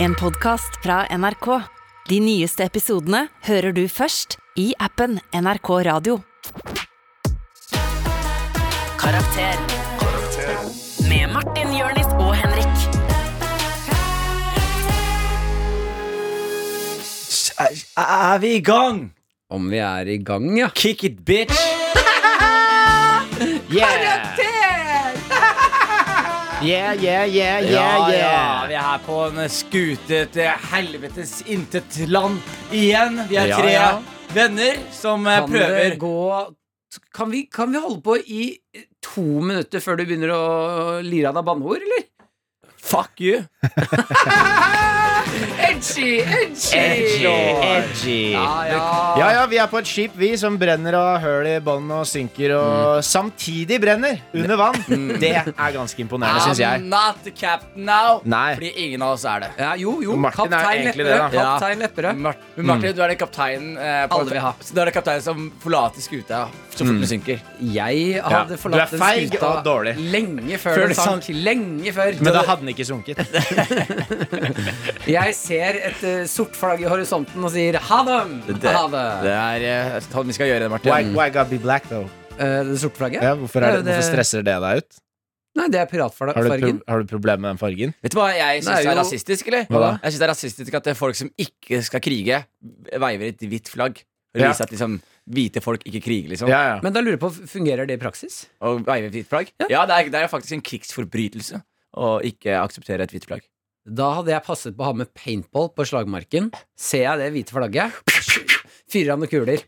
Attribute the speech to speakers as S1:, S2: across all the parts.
S1: En podcast fra NRK. De nyeste episodene hører du først i appen NRK Radio. Karakter. Med Martin, Jørnis og Henrik.
S2: Er, er vi i gang?
S3: Om vi er i gang, ja.
S2: Kick it, bitch! Yeah!
S3: Yeah, yeah, yeah,
S2: Ja, ja, vi er på en skute til helvetes intet land igjen. Vi er
S3: Ja,
S2: tre
S3: ja.
S2: venner som eh,
S3: Kan
S2: prøver
S3: det gå kan vi, kan vi holde på i to minutter før du begynner å lire av deg banneord, eller?
S2: Fuck you.
S3: Edgy, edgy!
S2: Edgy.
S3: Ja, ja.
S4: Ja, ja, vi er på et skip, vi, som brenner og høl i bånn og synker
S3: Mm.
S4: og samtidig brenner under vann. Det er ganske imponerende, syns
S2: I'm
S4: jeg.
S2: not the captain now.
S4: Nei.
S2: Fordi ingen av oss er det.
S3: Ja, jo, jo.
S4: Martin er
S3: kaptein
S4: egentlig
S3: Lepperød.
S4: det, da.
S2: Ja.
S3: Kaptein Lepperød.
S2: Mart- Men Martin, du er den kapteinen eh, på-
S3: Alle vil ha.
S2: Du er den kapteinen som forlater skuta så fort den synker.
S3: Jeg hadde
S4: Ja.
S3: forlatt
S4: Du er
S3: den
S4: feig
S3: skuta
S4: og dårlig.
S3: lenge før,
S2: Før
S3: den
S2: det sank.
S3: sank. Lenge før.
S4: Men da hadde den ikke sunket.
S3: Jeg ser et eh, sort flagg i horisonten og sier ha dem! Ha det.
S2: det er eh, sånn vi skal gjøre det, Martin.
S4: Why, why gotta be black, though?
S3: Eh, det sorte flagget?
S4: Ja, hvorfor, er det,
S3: Ja, det-
S4: hvorfor stresser det deg ut?
S3: Nei, det er
S4: Har du, pro
S3: piratfargen.
S4: har du problem med den fargen?
S2: Vet du hva jeg
S3: Nei,
S2: syns er
S3: jo.
S2: rasistisk, eller?
S4: Hva da?
S2: Jeg synes det er rasistisk At det er folk som ikke skal krige, veiver et hvitt flagg. Og
S4: Ja.
S2: viser at liksom, hvite folk ikke kriger, liksom.
S4: Ja, ja.
S3: Men da lurer jeg på, fungerer det i praksis?
S2: Og veiver et hvitt flagg. Ja, det, er, det er faktisk en krigsforbrytelse å ikke akseptere et hvitt flagg.
S3: Da hadde jeg passet på å ha med paintball på slagmarken. Ser jeg det hvite flagget? Fyrer av noen kuler.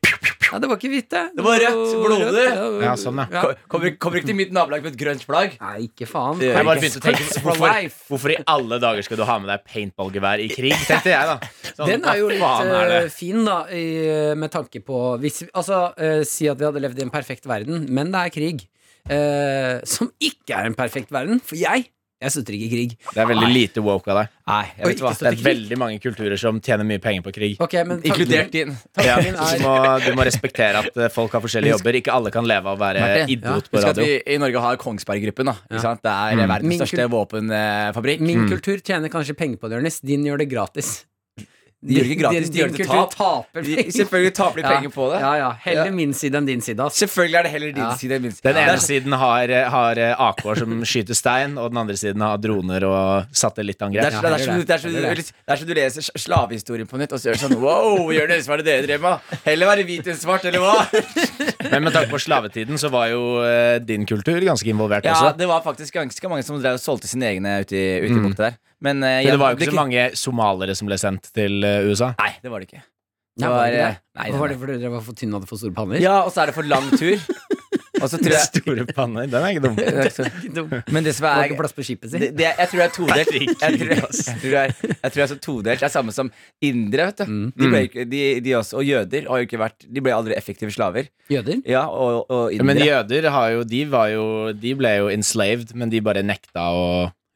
S3: Nei, det var ikke hvite.
S2: Det var rødt, blodig.
S3: rødt.
S4: Ja, sånn, ja.
S2: Ko- Kommer, kommer ikke til mitt nabolag med et grønt flagg.
S3: Nei, ikke faen.
S2: Det-
S4: Jeg bare
S3: Crickets
S4: begynte å tenke
S3: for
S4: hvorfor,
S3: life.
S4: hvorfor i alle dager skal du ha med deg paintballgevær i krig, tenkte jeg, da. Sånn,
S3: Den er jo
S4: hva
S3: litt
S4: faen er det?
S3: eh, fin, da, i, eh, med tanke på hvis, Altså, eh, si at vi hadde levd i en perfekt verden, men det er krig. eh, som ikke er en perfekt verden. For jeg, jeg støtter ikke krig.
S4: Det er veldig lite woke av deg.
S2: Nei, jeg
S3: Oi,
S2: vet hva.
S3: ikke
S4: Det
S3: støtter
S4: er veldig mange kulturer som tjener mye penger på krig.
S3: Ok, men tanken-
S2: Inkludert din.
S4: Ja,
S3: tanken
S4: så du,
S3: er
S4: må, du må respektere at eh, folk har forskjellige jobber. Ikke alle kan leve av å være
S2: Martin,
S4: idiot på
S2: Husk at
S4: radio. Mm.
S2: vi i Norge har Kongsberg-gruppen. da ikke sant? Det er eh, verdens
S3: Min
S2: største våpenfabrikk.
S3: Min kultur tjener kanskje penger på det, Jonis. Din gjør det gratis.
S2: De gjør det ikke gratis,
S3: Din-
S2: de gjør det
S3: din
S2: til
S3: kultur
S2: tap.
S3: taper
S2: De-
S3: penger.
S2: Selvfølgelig taper de penger på det.
S3: Ja, ja. Heller
S2: Ja.
S3: min side enn din side, ass.
S2: Selvfølgelig er det heller din
S3: Ja.
S2: side enn min side.
S4: Den
S2: Ja, det er
S4: ene siden har, har AK-er som skyter stein, og den andre siden har droner og
S2: Det
S4: satellittangrep.
S2: er, sånn-
S3: Ja,
S2: det, er,
S3: heller
S2: som,
S3: det.
S2: det, er som,
S3: Heller
S2: det er som du leser sl- slavehistorien på nytt, og så gjør du sånn Wow, gjør det, hva er det dere drev med? da? Heller være hvit enn svart, eller hva?
S4: Men med tanke på slavetiden så var jo eh, din kultur ganske involvert
S2: Ja,
S4: også.
S2: det var faktisk ganske mange som drev og solgte sine egne ute i, ute i bukta der. Men, eh,
S4: Men
S2: jeg-
S4: det var jo ikke så mange somalere som ble sendt til eh, USA.
S2: Nei, det var det ikke.
S3: Nei, var
S2: var,
S3: det det?
S2: eh, nei,
S3: Hva var
S2: det
S3: det for dere var for tynne og hadde for store panner?
S2: Ja, og så er det for lang tur. Og så tror
S4: Det
S2: jeg
S4: store panner, den er ikke dum.
S3: Det
S2: Men det som
S3: var
S2: er
S3: ikke plass på skipet
S2: det,
S3: sitt.
S2: det, jeg tror det er todelt.
S4: Det er
S2: Jeg
S4: ikke
S2: tror,
S4: krig,
S2: jeg, tror jeg, jeg tror det er så todelt. Det er samme som indere, vet du. De ble, ikke- de, de også, og jøder har jo ikke vært De ble aldri effektive slaver.
S3: Jøder?
S2: Ja, og, og indere.
S4: Men jøder har jo, de var jo De ble jo enslaved, men de bare nekta å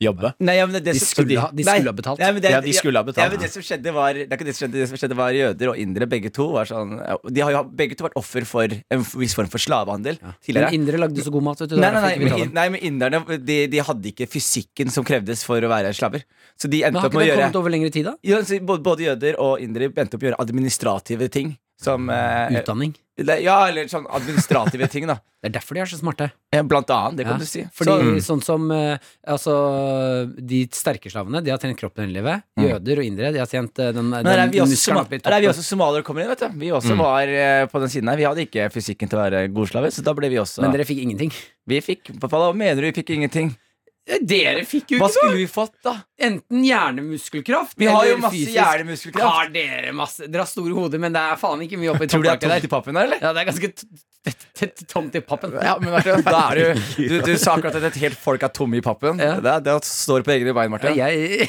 S4: jobbe.
S2: Nei, ja, men det, det
S3: De
S2: som-
S3: skulle ha- de skulle
S2: nei,
S3: ha betalt.
S2: Nei, men det,
S4: Ja, de skulle ha betalt.
S2: Ja, men det som skjedde var Det er ikke det som skjedde, det som skjedde var jøder og indere. Begge to var sånn De har jo begge to vært offer for en viss form for slavehandel tidligere.
S3: Men indere lagde så god mat, vet du.
S2: Nei,
S3: derfor
S2: nei, nei,
S3: fikk vi ta
S2: men,
S3: dem.
S2: nei, men inderne de, de hadde ikke fysikken som krevdes for å være slaver. Så de
S3: Men
S2: endte
S3: har
S2: opp
S3: ikke
S2: med
S3: det
S2: å gjøre
S3: kommet over lengre tid, da?
S2: Ja, så både, både jøder og indere endte opp med å gjøre administrative ting. Som eh,
S3: Utdanning.
S2: eller- Ja, eller sånn administrative ting, da.
S3: Det er derfor de er så smarte.
S2: Eh, Blant annet. Det kan
S3: Ja,
S2: du si.
S3: Fordi
S2: Så-
S3: sånn som eh, altså, de sterke slavene, de har trent kroppen hele livet. Jøder og indere, de har trent eh, den,
S2: Men her er
S3: den
S2: vi også,
S3: muskelen
S2: soma
S3: oppi
S2: her er vi
S3: toppen.
S2: også somaliere kommer inn, vet du. Vi også var eh, på den siden her. Vi hadde ikke fysikken til å være godslave, så da ble vi også
S3: Men dere fikk ingenting.
S2: Vi fikk Hva mener du vi fikk ingenting?
S3: Dere fikk
S2: Hva skulle vi fått, da?
S3: Enten hjernemuskelkraft
S2: Vi har jo masse hjernemuskelkraft.
S3: Har dere masse Dere har store hoder, men det er faen ikke mye oppi
S2: Tror du det er
S3: topplaket
S2: tomt
S3: der.
S2: i pappen her, eller?
S3: Ja, det er ganske t- t- t- tomt i pappen.
S2: Ja, men Martin, da er du Du, du sa akkurat at et helt folk er tomme i pappen.
S3: Ja.
S2: Det, er- det står på egne bein, Martin.
S3: Jeg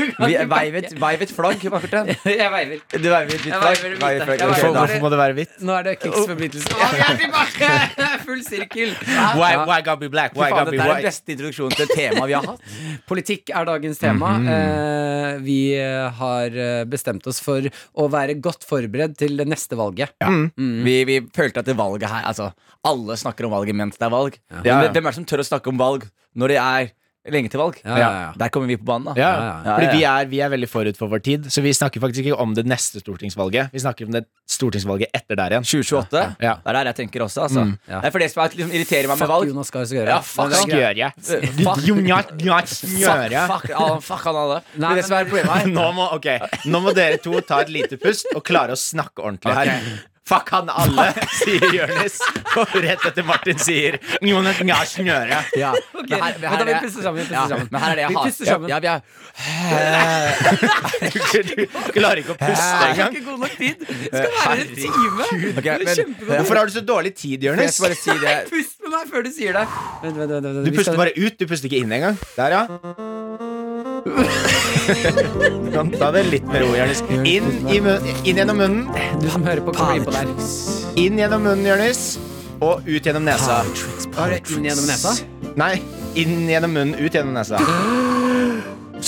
S3: Nei, du kan
S2: Vi
S3: ikke
S2: veiv et- veiv et flagg, Martin.
S3: bakke. Jeg veiver.
S2: Du veiver et hvitt
S3: Jeg
S2: flagg.
S3: veiver et
S2: Veiv et flagg.
S3: hvitt flagg.
S2: Ok,
S3: Jeg
S4: Hvorfor,
S2: da.
S3: veiver.
S4: hvorforbrytelse må det være hvitt?
S3: Nå er det krigsforbrytelse. Å, vi er tilbake! Full sirkel.
S4: Why,
S3: Ja.
S4: why gotta be black?
S2: Fy
S4: Why
S2: faen,
S4: gotta be
S2: Dette er den
S4: white?
S2: beste introduksjonen til et tema vi har hatt.
S3: Politikk er dagens tema. eh, vi eh, har eh, bestemt oss for å være godt forberedt til det neste valget.
S4: Mm.
S3: Mm.
S2: Vi, vi følte at det valget her Altså, alle snakker om valget mens det er valg.
S4: Ja, ja.
S2: Men hvem er det som tør å snakke om valg når det er lenge til valg.
S3: Ja, ja, ja.
S2: Der kommer vi på banen, da.
S4: Ja,
S3: ja,
S2: ja.
S4: fordi
S2: Ja, ja,
S4: vi er, vi er veldig forut for vår tid, så vi snakker faktisk ikke om det neste stortingsvalget. Vi snakker om det stortingsvalget etter der igjen.
S2: 2028.
S4: Ja.
S2: Det er der jeg tenker også, altså.
S4: Mm.
S3: Ja.
S2: Det er for det som er, liksom, irriterer meg med
S3: Fuck
S2: valg.
S3: Jonas Gahr Støre.
S2: Ja, fuck
S3: Men det er
S2: han.
S3: greit.
S4: Gjør jeg?
S2: Fuck,
S4: Jo, nja, nja, gjør jeg?
S2: fuck, all- fuck han alle.
S3: Nei,
S2: Men det som er
S3: men-
S2: problemet her
S4: Nå må, ok, nå må dere to ta et lite pust og klare å snakke ordentlig her. Fuck han alle, sier Jonis. Og rett etter Martin sier Jonas, nja, gjør jeg?
S2: ja.
S3: Men her- men her
S2: er
S3: er
S2: det-
S3: vi puster sammen. Vi
S2: ja,
S3: puster sammen.
S2: men her er det jeg
S3: Vi
S2: har.
S3: puster sammen.
S2: Ja, ja, vi er-
S4: Du klarer ikke å puste
S2: Jeg
S4: engang.
S3: ikke god nok tid. Det skal være en time.
S2: Ok, men-
S4: Hvorfor har du så dårlig tid,
S2: Kan jeg
S4: Jonis?
S2: skal bare si det.
S3: Pust med meg før du sier det. Vent, vent, vent, vent.
S4: Du
S3: Vi
S4: puster
S3: skal-
S4: bare ut, du puster ikke inn engang. Der, ja. Du kan ta det litt med ro, Jonis. Inn, i mun- inn gjennom munnen,
S3: Du som hører på, kan bli på der.
S4: inn gjennom munnen, Jonis. Og ut gjennom nesa.
S3: Bare inn gjennom nesa.
S4: Nei, inn gjennom munnen, ut gjennom nesa.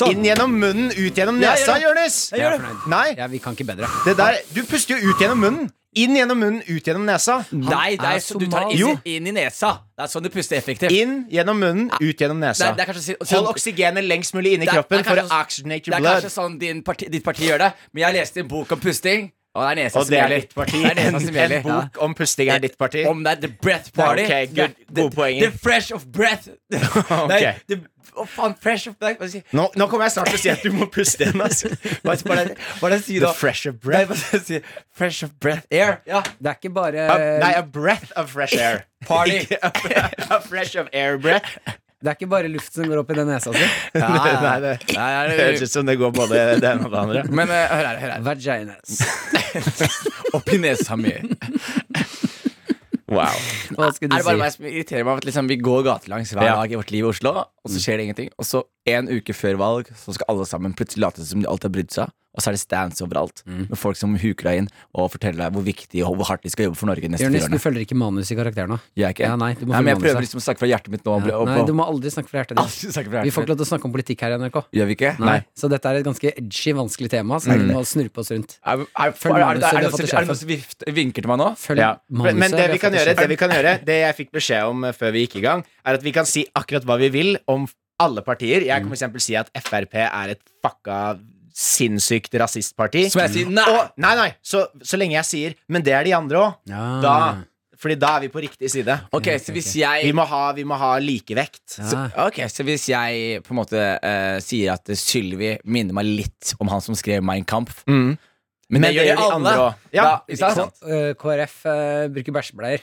S4: Inn gjennom munnen, ut gjennom
S2: Sånn. Ja,
S4: nesa,
S2: gjør
S4: Jonis!
S2: Jeg gjør
S3: Jeg er
S2: det.
S3: fornøyd.
S4: Nei,
S3: Ja, vi kan ikke bedre.
S4: det der Du puster jo ut gjennom munnen. Inn gjennom munnen, ut gjennom nesa.
S2: Nei, det
S3: er
S2: er sånn du tar
S3: somal.
S2: inn,
S4: Jo.
S2: i- inn i nesa. Det er sånn du puster effektivt.
S4: Inn gjennom munnen, ut gjennom
S2: Det
S4: nesa.
S2: er, det er kanskje, si- sånn-
S4: Hold oksygenet lengst mulig inni
S2: Det er- det er
S4: kroppen for å
S2: kanskje-
S4: oxygenate
S2: Det
S4: your
S2: er kanskje
S4: blood.
S2: sånn din parti, ditt parti gjør det, men jeg leste en bok om pusting, og det er nesa
S4: Og
S2: som
S4: det er
S2: gjelder.
S4: ditt parti.
S2: Det er
S4: En,
S2: nesa som
S4: en
S2: gjelder.
S4: bok om pusting er ditt parti.
S2: Om det er The Breath Party.
S4: Ok,
S2: Det-
S4: good.
S2: det-
S4: Gode poenger.
S2: The Fresh of Breath. Nei, the, å faen, Fresh of Breath. Hva skal jeg si?
S4: Nå, nå kommer jeg snart til å si at du må puste igjen. Altså.
S2: Hva hva er det- hva er det jeg sier
S4: The
S2: da?
S4: fresh of
S2: Nei,
S4: breath.
S2: hva skal jeg si? Fresh of Breath Air. Ja,
S3: Det er ikke bare
S4: A, nei, a breath of fresh air.
S2: party.
S4: Ikke a, a fresh of air breath.
S3: Det er ikke bare luft som går opp i den nesa altså. si.
S4: Nei, nei, det,
S2: Nei,
S4: det
S2: det-
S4: høres ut som det går både det ene og det andre.
S2: Men eh, hør her, hør her.
S3: Vaginas.
S2: Oppi nesa mi.
S4: Wow.
S3: Hva skulle
S2: Er det
S3: du
S2: bare
S3: si?
S2: meg som irriterer meg av at liksom, vi går gatelangs hver
S4: Ja.
S2: dag i vårt liv i Oslo, og så
S3: Mm.
S2: skjer det ingenting. Og så en uke før valg så skal alle sammen plutselig late som de alltid har brydd seg. Og så er det stands overalt,
S3: Mm.
S2: med folk som huker deg inn og forteller deg hvor viktig og hvor hardt de skal jobbe for Norge de neste
S3: Jonis,
S2: fire
S3: du
S2: årene.
S3: følger ikke manus i karakteren nå.
S2: Gjør jeg ikke?
S3: Ja, nei, du må
S2: men jeg
S3: følge
S2: prøver
S3: manuset.
S2: liksom å snakke fra hjertet mitt nå. Og, og,
S3: Nei,
S2: og,
S3: du må aldri snakke fra hjertet ditt.
S2: Alltid snakke fra
S3: Vi får
S2: hjertet
S3: ikke lov til å snakke om politikk her i NRK.
S2: mitt. Gjør vi ikke?
S3: Nei. Så dette er et ganske edgy, vanskelig tema, så vi må snurpe oss rundt.
S2: Er, er, er, er, er,
S3: Følg
S2: det-
S3: manuset,
S2: er det
S3: du har
S2: noen
S3: fått til
S2: som- er det noen som vift- vinker til meg nå?
S3: Følg
S4: Ja. Men,
S3: manuset.
S4: men det vi kan gjøre, det
S3: det
S4: vi kan gjøre Det jeg fikk beskjed om eh, før vi gikk i gang, er at vi kan si akkurat hva vi vil om alle partier. Jeg kan for eksempel si at Frp er et fucka sinnssykt rasistparti.
S2: Som jeg sier nei!
S4: Og, nei, nei, så, så lenge jeg sier 'men det er de andre òg',
S3: Ja.
S4: da Fordi da er vi på riktig side.
S2: Ok, så hvis
S4: Vi
S2: jeg
S4: må ha, vi må ha likevekt.
S3: Ja.
S2: så, Ok, så hvis jeg på en måte eh, sier at Sylvi minner meg litt om han som skrev Mein Kampf
S4: Mm.
S2: Men,
S4: det gjør de andre òg. Ja,
S2: Da- ikke sant?
S4: sant?
S3: Eh, KrF eh, bruker bæsjebleier.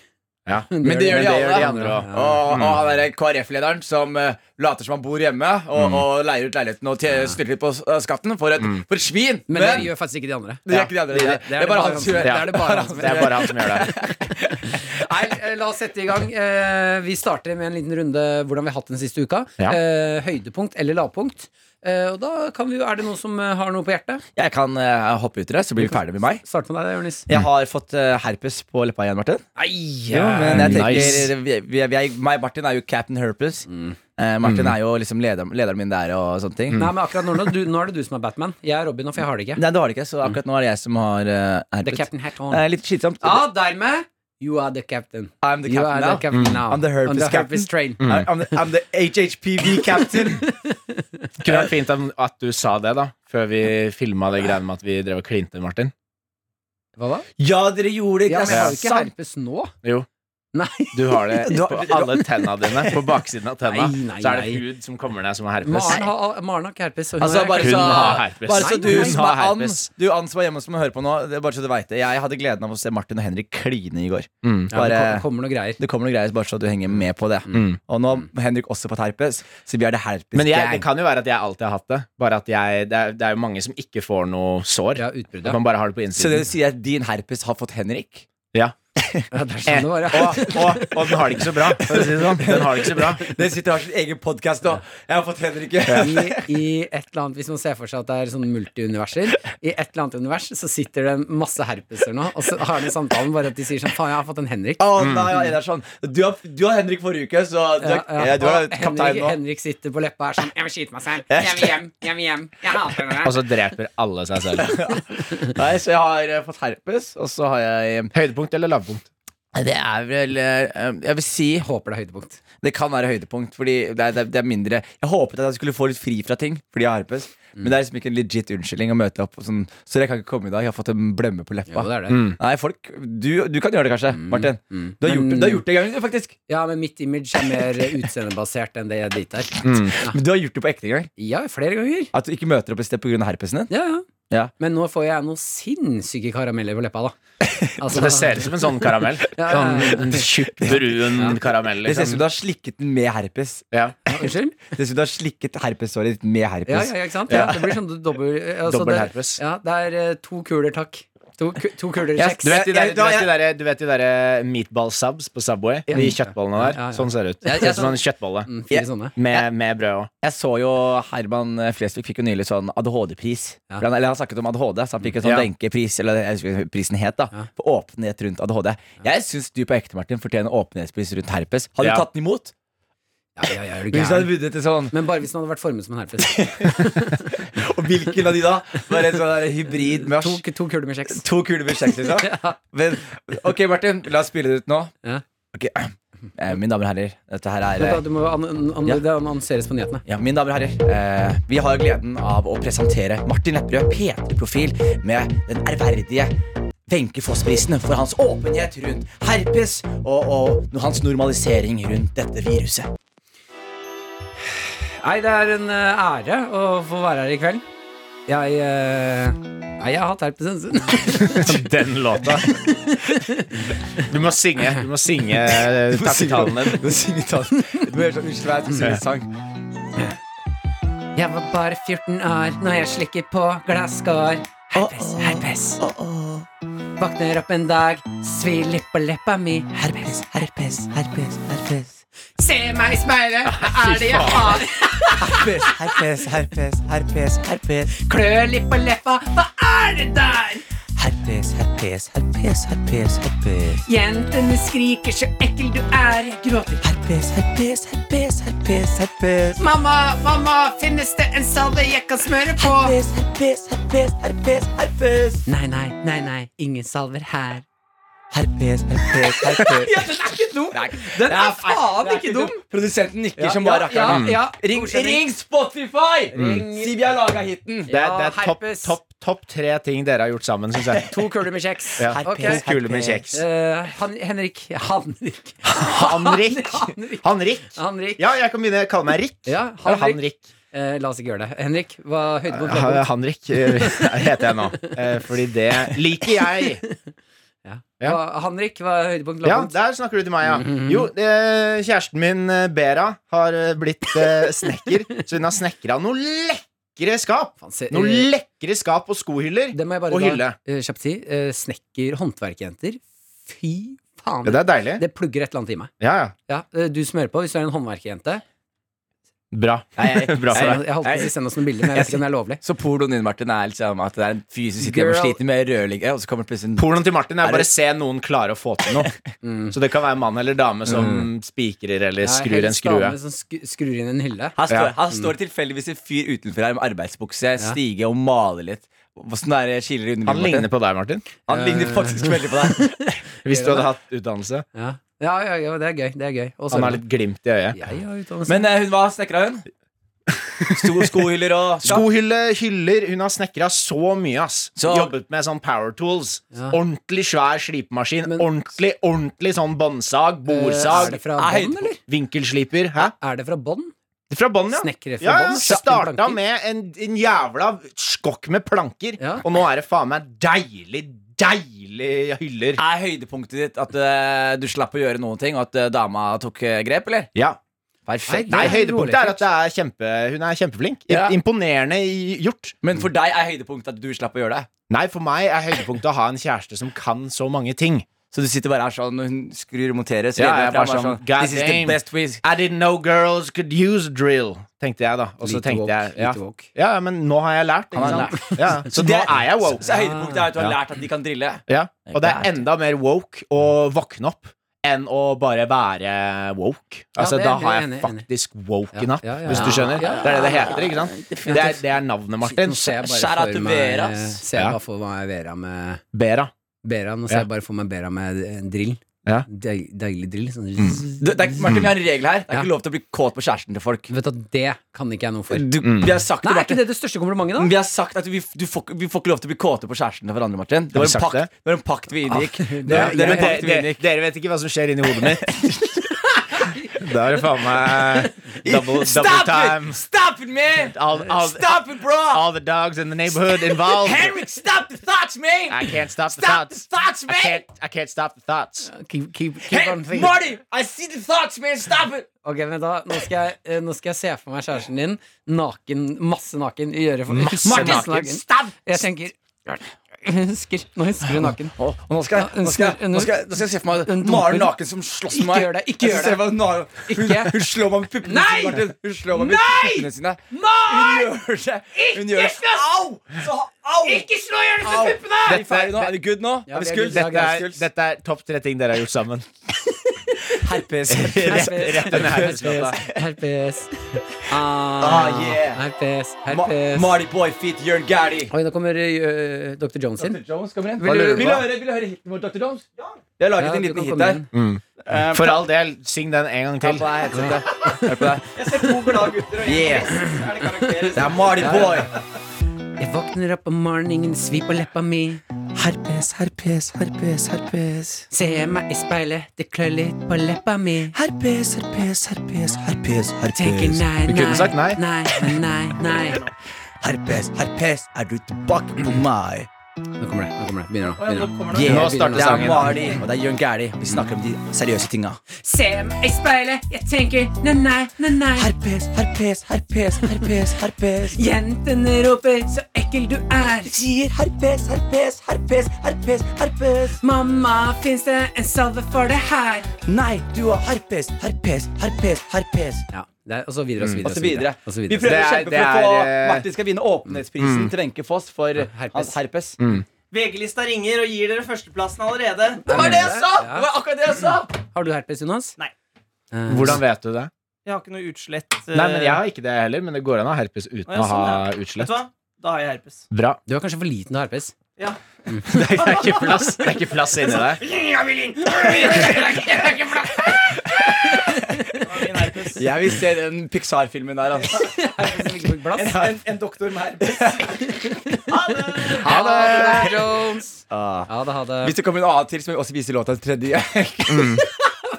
S4: Ja.
S2: Men det gjør de
S4: det gjør de
S2: alle. Mm.
S4: andre òg.
S3: Ja.
S2: Og, og han derre KrF-lederen som eh, later som han bor hjemme, og, og leier ut leiligheten og tje- styrer litt på s- eh, skatten. For et, for et svin!
S3: Men det gjør faktisk ikke de andre.
S2: det gjør ikke de andre. Det, det er bare han som gjør
S3: Det
S2: det.
S3: er det bare han som
S4: Det er bare han som gjør det.
S3: Nei, eh, la oss sette i gang. Eh, Vi starter med en liten runde hvordan vi har hatt den siste uka.
S4: Ja.
S3: Eh, Høydepunkt eller lavpunkt. Eh, Og da kan vi jo, er det noen som eh, har noe på hjertet?
S2: Jeg kan eh, hoppe ut i det, så blir vi ferdig med meg.
S3: Start med deg, Jonis.
S2: Jeg har fått eh, herpes på leppa igjen, Martin.
S3: Nei!
S2: Jo,
S3: Ah,
S2: men jeg tenker
S4: nice.
S2: vi, vi, vi er, Meg og Martin er jo Captain Herpes.
S3: Mm.
S2: Eh, Martin er jo liksom leder, lederen min der og sånne ting.
S3: Nei, men akkurat nå, nå- du, nå er det du som er Batman. Jeg er Robin, nå, for jeg har det ikke.
S2: Nei, du har det ikke, så akkurat nå er det jeg som har eh,
S3: The
S2: herpes.
S3: Mm. Captain Hat On.
S2: Eh, litt slitsomt. Ah,
S3: Ja, dermed You are the captain.
S2: I'm the
S3: you
S2: captain
S3: are
S2: now.
S3: the captain now.
S2: I'm the herpes
S3: On the herpes
S2: captain. Mm.
S3: train.
S2: I- I'm, the, I'm the HHPV captain.
S4: Kunne vært fint om- at du sa det, da, før vi filma det greiene med at vi drev og klinte, Martin.
S3: Hva da?
S2: Ja, dere gjorde det!
S3: Ja, men
S2: det
S3: jeg
S2: er
S3: har jo ikke
S2: sant!
S3: herpes nå.
S4: Jo.
S3: Nei.
S4: Du har det
S2: Du har-
S4: på alle tenna dine. På baksiden av tenna
S3: Nei, nei,
S4: så er det
S3: nei.
S4: hud som kommer ned, som har
S3: Maren
S4: herpes.
S3: har, Maren har ikke herpes. og hun
S2: Altså,
S3: har
S2: bare
S3: herpes.
S2: så,
S4: Hun har herpes.
S2: bare så
S3: Nei,
S2: du
S3: hun
S2: som
S4: har
S2: er and,
S4: herpes.
S2: du and som er hjemme som hører på nå, det er bare så du vet det. Jeg hadde gleden av å se Martin og Henrik kline i går.
S4: Mm.
S3: Ja, det
S2: Bare,
S3: kom- kommer noen greier.
S2: det kommer noen greier, bare så du henger med på det.
S4: Mm.
S2: Og nå har Henrik også fått herpes, så vi er det herpes
S4: Men jeg, det
S2: gang.
S4: kan jo være at jeg alltid har hatt det. Bare at jeg, det, er, det er jo mange som ikke får noe sår.
S3: Ja, utbruddet.
S4: Man bare har det på
S2: Så det
S4: innsiden.
S2: vil si at din herpes har fått Henrik?
S4: Ja.
S3: Ja, det er sånn
S4: Eh,
S3: det var, ja.
S4: og, og, og den har det ikke så bra. For å si det sånn. Den har det ikke så bra.
S2: Den sitter og har sin egen podkast nå. Jeg har fått Henrik.
S3: I, I et eller annet, Hvis man ser for seg at det er sånne multiuniverser, i et eller annet univers så sitter det masse herpeser nå, og så har de samtalen bare at de sier sånn Faen, jeg har fått en Henrik.
S2: Å nei, ja, det er sånn. du, har, du har Henrik forrige uke, så du,
S3: Ja,
S2: er- ja, du er
S3: Og
S2: kaptein
S3: Henrik,
S2: nå.
S3: Henrik sitter på leppa og er sånn Jeg vil skyte meg selv. Jeg vil hjem. Jeg vil hjem. Jeg hater
S4: Og
S3: dere.
S4: så dreper alle seg selv.
S2: Nei, Så jeg har eh, fått herpes, og så har jeg
S4: Høydepunkt eller lavpunkt?
S2: Det er vel eh, Jeg vil si
S3: Håper det er høydepunkt.
S2: Det kan være høydepunkt, fordi det er, det er- det er mindre Jeg håpet at jeg skulle få litt fri fra ting fordi jeg har herpes, men det er liksom ikke en legit unnskyldning å møte opp og sånn Så jeg kan ikke komme i dag, jeg har fått en blemme på leppa.
S3: Jo, det Mm, er det.
S2: Nei, folk Du, du kan gjøre det kanskje, Martin. Du har, gjort, det- du har gjort det en gang, du, faktisk.
S3: Ja, men mitt image er mer utseendebasert enn det ditt er. Ah.
S2: Men du har gjort det på ekte en gang.
S3: Ja, flere ganger.
S2: At du ikke møter opp et sted pga. herpesen din.
S3: Ja, ja.
S2: Ja.
S3: Men nå får jeg noen sinnssyke karameller på leppa, da. Altså,
S4: Det ser ut som en sånn karamell.
S3: Ja, ja, ja.
S4: Sånn tjukk, brun karamell.
S2: Det ser ut som
S4: Liksom.
S2: du har slikket den med herpes.
S4: Ja.
S3: Ja, Unnskyld?
S2: Det ser ut som du har slikket herpessåret ditt med herpes.
S3: Ja, ja, ja, ikke sant? Ja, det blir sånn dobbel altså,
S4: Dobbel
S3: det-
S4: herpes.
S3: Ja, det er eh, to kuler, takk. To, ku- to kuler
S4: Jeg-
S3: kjeks.
S4: Du vet de
S2: Jeg-
S4: der,
S2: jeg-
S4: du vet de der, du vet de der meatball subs på Subway?
S3: Ja.
S4: De kjøttbollene
S3: Ja, ja, ja.
S4: der. Sånn ser det ut.
S3: Jeg-
S4: Ser
S3: jeg
S4: ut som en kjøttbolle.
S3: Mm, Fire sånne.
S4: Med, med brød òg.
S2: Jeg så jo Herman Flesvig fikk jo nylig sånn ADHD-pris.
S3: Ja.
S2: For Han, eller han snakket om ADHD, så han fikk en sånn
S4: Ja.
S2: denkepris, eller jeg husker hva prisen het, da.
S3: Ja.
S2: For åpenhet rundt ADHD. Jeg syns du på ekte, Martin, fortjener åpenhetspris rundt herpes. Hadde
S4: Ja.
S2: du tatt den imot?
S3: Ja, ja, ja, er du
S2: Hvis du hadde
S3: gæren?
S2: vunnet en sånn,
S3: Men bare hvis den hadde vært formet som en herpes.
S2: og hvilken av de da? Var en sånn der hybrid med
S3: To, to kuler med kjeks.
S2: To kuler med kjeks, liksom?
S3: Ja.
S2: Men, ok, Martin, la oss spille det ut nå.
S3: Ja.
S2: Ok, eh, Mine damer og herrer, dette her er
S3: Vent
S2: eh,
S3: da, Du må an an
S2: Ja.
S3: Det annonseres på nyhetene.
S2: Ja, mine damer og herrer, eh, vi har gleden av å presentere Martin Lepperød, P3-profil, med den ærverdige Wenche Foss-prisen for hans åpenhet rundt herpes og, og hans normalisering rundt dette viruset.
S3: Nei, det er en eh, ære å få være her i kveld. Jeg eh, Nei, jeg har hatt herpes en stund.
S4: Den låta. Du må synge. Du må synge eh, takk i talen din.
S2: Du må synge talen. Du må gjøre sånn unnskyld meg, jeg skal synge en sang.
S3: Jeg var bare 14 år når jeg slikker på glasskår. Herpes, herpes. Våkner opp en dag, svir litt på leppa mi. Herpes, herpes, herpes, herpes. Se meg i speilet, hva er det jeg har?
S2: Herpes, herpes, herpes, herpes, herpes.
S3: Klør litt på leppa, hva er det der?
S2: Herpes, herpes, herpes, herpes, herpes.
S3: Jentene skriker, så ekkel du er. Jeg gråter.
S2: Herpes, herpes, herpes, herpes, herpes.
S3: Mamma, mamma, finnes det en salve jeg kan smøre på?
S2: Herpes, herpes, herpes, herpes, herpes.
S3: Nei, nei, nei, nei, ingen salver her.
S2: Herpes, herpes, herpes.
S3: Ja, den er ikke dum! Den er faen ikke dum!
S2: Produsenten nikker som
S3: Ja,
S2: bare rakkeren.
S3: ja, ja.
S2: Ring,
S3: Godkjenning. Mm.
S2: ring Spotify!
S3: Ring.
S2: Si vi har laga hiten.
S4: Det er,
S3: Ja,
S4: det er topp
S3: herpes.
S4: topp, topp tre ting dere har gjort sammen, syns jeg.
S3: To kuler med kjeks.
S4: Ja.
S3: Ok.
S2: Herpes.
S4: Kule med kjeks.
S3: Eh, Han, Henrik Hanrik.
S4: Hanrik.
S3: Hanrik.
S4: Hanrik.
S3: Hanrik.
S4: Ja, jeg kan begynne å kalle meg Rick.
S3: Ja,
S4: Eller
S3: Hanrik.
S4: Hanrik.
S3: Eh, la oss ikke gjøre det. Henrik, hva er høydepunkt?
S4: Ha-
S3: lavpunkt?
S4: Hanrik eh, heter jeg nå. Eh, Fordi det liker jeg. ja.
S3: Hva- Hanrik, hva er høydepunkt?
S4: Ja,
S3: lavpunkt?
S4: der snakker du til meg, ja.
S3: Mhm.
S4: Jo, eh, kjæresten min, eh, Bera, har eh, blitt eh, snekker. Så hun har snekra noen lekre skap.
S3: Faen, se-
S4: Noen
S3: eh,
S4: lekre skap og skohyller.
S3: Det må jeg bare
S4: og
S3: da,
S4: hylle.
S3: eh, kjapt si. eh, Snekker, håndverkerjenter. Fy faen.
S4: Ja, det er deilig.
S3: Det plugger et eller annet i meg.
S4: Ja, ja.
S3: Ja, eh, du smører på hvis du er en håndverkerjente.
S4: Bra. Bra for
S3: Jeg,
S4: deg.
S3: jeg holdt på å si send oss noen bilder, men jeg vet ikke om det er lovlig.
S2: Så pornoen din, Martin, er liksom at det er en fyr som sitter hjemme og
S3: Girl.
S2: sliter med rødligge, og så kommer det plutselig en
S4: Pornoen til Martin
S2: Er
S4: er
S2: det-
S4: bare se noen klare å få til noe.
S3: Mm.
S4: Så det kan være mann eller dame som spikrer eller
S3: Jeg er
S4: skrur en
S3: helst
S4: skrue.
S3: dame Som sk skrur inn en hylle.
S2: Her står,
S4: Ja.
S2: her står det tilfeldigvis en fyr utenfor her med arbeidsbukse, stige og maler litt. Hvordan er det skiller under
S4: Han ligner på deg, Martin.
S2: Han
S3: Eh.
S2: ligner faktisk veldig på deg.
S4: Hvis du hadde hatt utdannelse.
S3: Ja, ja, ja, ja det er gøy. Det er gøy. Og så-
S4: Han har litt glimt i øyet.
S3: Jeg har utdannelse.
S2: Men eh, hun var snekra, hun. Sto skohyller og
S4: Skohylle, hyller. Hun har snekra så mye, ass.
S2: Så-
S4: Jobbet med sånn power tools.
S3: Ja.
S4: Ordentlig svær slipemaskin.
S3: Men- Eh,
S4: ordentlig ordentlig sånn båndsag,
S3: Er
S4: bordsag,
S3: det fra
S2: Nei,
S3: bånn, eller?
S4: vinkelsliper. Hæ?
S3: Er det fra bånn?
S4: Fra bånn, ja.
S3: Snekre fra
S4: Ja, ja.
S3: bånn?
S4: Starta
S3: Planker?
S4: med en, en jævla skokk med planker,
S3: Ja.
S4: og nå er det faen meg deilig, deilig
S3: Ah.
S4: hyller.
S2: Er høydepunktet ditt at eh, du slapp å gjøre noen ting, og at eh, dama tok eh, grep, eller?
S4: Ja.
S2: Perfekt.
S4: Nei,
S3: Ja,
S4: høydepunktet
S3: rolig.
S4: er at det er kjempe, hun er kjempeflink.
S2: Ja.
S4: Imponerende i- gjort.
S2: Men for deg er høydepunktet at du slapp å gjøre det.
S4: Nei, for meg er høydepunktet å ha en kjæreste som kan så mange ting.
S2: Så du sitter bare her sånn, og hun skrur og monterer, så
S4: Ja,
S2: lener
S4: jeg
S2: jeg frem
S4: bare
S2: og er
S4: sånn,
S2: sånn
S4: God
S2: This is the
S4: damn."
S2: best we
S4: I didn't know girls could use drill, tenkte jeg da. Og så
S3: Lite
S4: tenkte jeg
S3: woke,
S4: ja.
S3: lite woke.
S4: ja, ja, men nå har jeg lært, ikke
S2: Han har
S4: sant? Ja. Så nå
S2: det-
S4: er
S2: Så,
S4: jeg
S2: så
S4: woke.
S2: høydepunktet er at du har
S4: Ja.
S2: lært at de kan drille.
S4: Ja. Og det
S2: God
S4: er enda mer woke å våkne opp enn å bare være woke. Altså,
S3: det er
S4: da
S3: enig,
S4: har jeg
S3: enig, enig.
S4: faktisk woken
S3: Ja,
S4: up,
S3: ja, ja,
S4: hvis
S3: ja.
S4: du skjønner.
S3: Ja, ja,
S4: Det er det det heter, ikke sant? Det er, det er navnet, Martin.
S3: Nå ser jeg bare
S2: Shout out
S3: for
S2: til
S3: meg-
S2: Vera, ass.
S3: Ser jeg
S4: Ja.
S3: bare for meg Vera med
S4: Bera.
S3: Bera, nå ser jeg bare for meg Bera med en drill.
S4: Ja. Mm.
S3: Deil, deilig drill. Sånn.
S2: Det, det er, Martin, vi har en regel her. Det er
S3: Ja.
S2: ikke lov til å bli kåt på kjæresten til folk.
S3: Vet du, at det kan ikke jeg noe
S4: Mm.
S3: for.
S2: Du, vi har sagt
S3: Nei,
S2: det,
S3: Er
S2: Martin.
S3: ikke det det største komplimentet, da?
S2: Vi har sagt at vi, du får, ikke- vi får ikke lov til å bli kåte på kjæresten til hverandre, Martin. Det
S4: Har
S2: var
S4: vi
S2: en
S4: sagt
S2: pakt,
S4: det? Ah.
S2: det var en pakt vi inngikk. Det,
S3: Ja,
S2: det var
S4: Men
S2: en pakt vi
S4: dere,
S2: inngikk.
S4: dere vet ikke hva som skjer inni hodet mitt. Da er det faen meg eh, double, double time.
S2: Stop it, man!
S4: All, all,
S2: Stop it, bro!
S4: all the dogs in the neighborhood involved.
S2: Henrik, stop the thoughts,
S4: I
S2: man!
S4: can't stop the
S2: Stop the
S4: thoughts.
S2: thoughts,
S4: I
S2: man!
S4: can't, I can't stop the thoughts.
S3: Keep, keep, keep on
S2: Hey,
S3: thinking.
S2: Marty, I see the thoughts, man! Stop it!
S3: Ok, men da, nå skal, jeg, eh, nå skal jeg se for meg kjæresten din naken, masse naken i øret. For,
S4: Masse
S3: Martin,
S4: naken.
S2: Stop!
S3: Jeg tenker Hun husker, Nå husker hun naken.
S2: Å, og nå skal, jeg, nå, skal jeg, nå, skal jeg, nå skal jeg se for
S3: En
S2: meg
S3: dumper.
S2: Maren naken som slåss med meg.
S3: Ikke gjør det, ikke gjør det.
S2: det hun,
S3: Ikke.
S2: hun slår meg med puppene
S3: Nei!
S2: sine. Martin. Hun slår meg med puppene sine. Hun gjør det. Hun gjør det. Au! Så, au! Ikke slå i hjørnet med puppene! Er vi ferdige nå? Er vi good nå?
S3: Ja,
S2: er
S3: vi
S2: vi
S3: er
S2: skuls?
S3: good.
S4: Dette er,
S2: Skuls?
S4: dette er topp tre ting dere har gjort sammen.
S2: herpes.
S4: Rett, rett under
S3: Herpes,
S4: herpesgata.
S3: herpes. Ah,
S2: Ah, yeah.
S3: Herpes,
S2: Ma
S3: herpes.
S2: Marty Boy Feet Jørn Gæli.
S3: Oi, nå kommer eh, Dr. Jones inn.
S2: Jones kommer inn.
S3: Hva
S2: Vil du,
S3: lurer
S2: vil
S3: du
S2: du
S3: på?
S2: høre, vil du høre hiten vår, Dr. Jones? Jeg har laget
S3: Ja,
S2: en
S3: du
S2: liten
S3: kan
S2: hit
S3: komme
S2: der.
S3: inn.
S2: Eh,
S4: For all del, syng den en gang
S2: Ta
S4: til.
S2: på deg headsetet. Hør på deg. Jeg ser to glade gutter og yes. Det er Marty Boy.
S3: Jeg våkner opp om morgenen, svi på leppa mi.
S2: Herpes, herpes, herpes, herpes.
S3: Ser jeg meg i speilet, det klør litt på leppa mi.
S2: Herpes, herpes, herpes, herpes,
S3: Tenker
S2: herpes.
S3: nei,
S4: Du kunne sagt nei.
S3: nei, nei, nei.
S2: Herpes, herpes, er du tilbake på meg?
S3: Nå kommer det. nå kommer det, Begynner nå. Begynner
S2: Yeah.
S4: Nå starter
S2: det
S4: sangen.
S2: er Marty, og det er Jørn Gæli. Vi snakker om de seriøse tinga.
S3: Se meg i speilet, jeg tenker nei, nei, nei, nei.
S2: Herpes, herpes, herpes, herpes, herpes.
S3: Jentene roper så ekkel du er.
S2: Sier herpes, herpes, herpes, herpes, herpes.
S3: Mamma, fins det en salve for det her?
S2: Nei, du har herpes, herpes, herpes, herpes.
S3: Ja, det er, og så videre og så videre.
S2: Mm. Og så videre.
S3: og så
S2: Vi prøver
S4: Det
S2: å
S4: er-
S2: kjempe
S4: det
S2: for å få
S4: er, eh,
S2: Martin skal vinne åpenhetsprisen til Wenche Foss for
S3: herpes.
S2: hans herpes.
S5: VG-lista ringer og gir dere førsteplassen allerede.
S2: Det var det jeg sa!
S3: Ja.
S2: Det var akkurat det jeg sa!
S3: Har du herpes, Jonas?
S5: Nei.
S3: Eh,
S4: Hvordan vet du det?
S5: Jeg har ikke noe utslett.
S4: Nei, men Jeg har ikke det heller, men det går an å ha herpes uten
S5: Eh, Å, ja,
S4: å ha
S5: sånn, Vet
S4: utslett.
S5: du hva? Da har jeg herpes.
S4: Bra.
S3: Du er kanskje for liten til å ha herpes.
S5: Ja.
S4: Det er, det er ikke plass Det er ikke plass inni deg.
S5: Det var min herpes.
S2: Jeg vil se den Pixar-filmen der, altså.
S3: Blass.
S2: En, doktor med herpes.
S5: Ha det!
S3: Ha det, Jones. Ja, det hadde
S2: Hvis det kommer en annen til, så må vi også vise låta til tredje.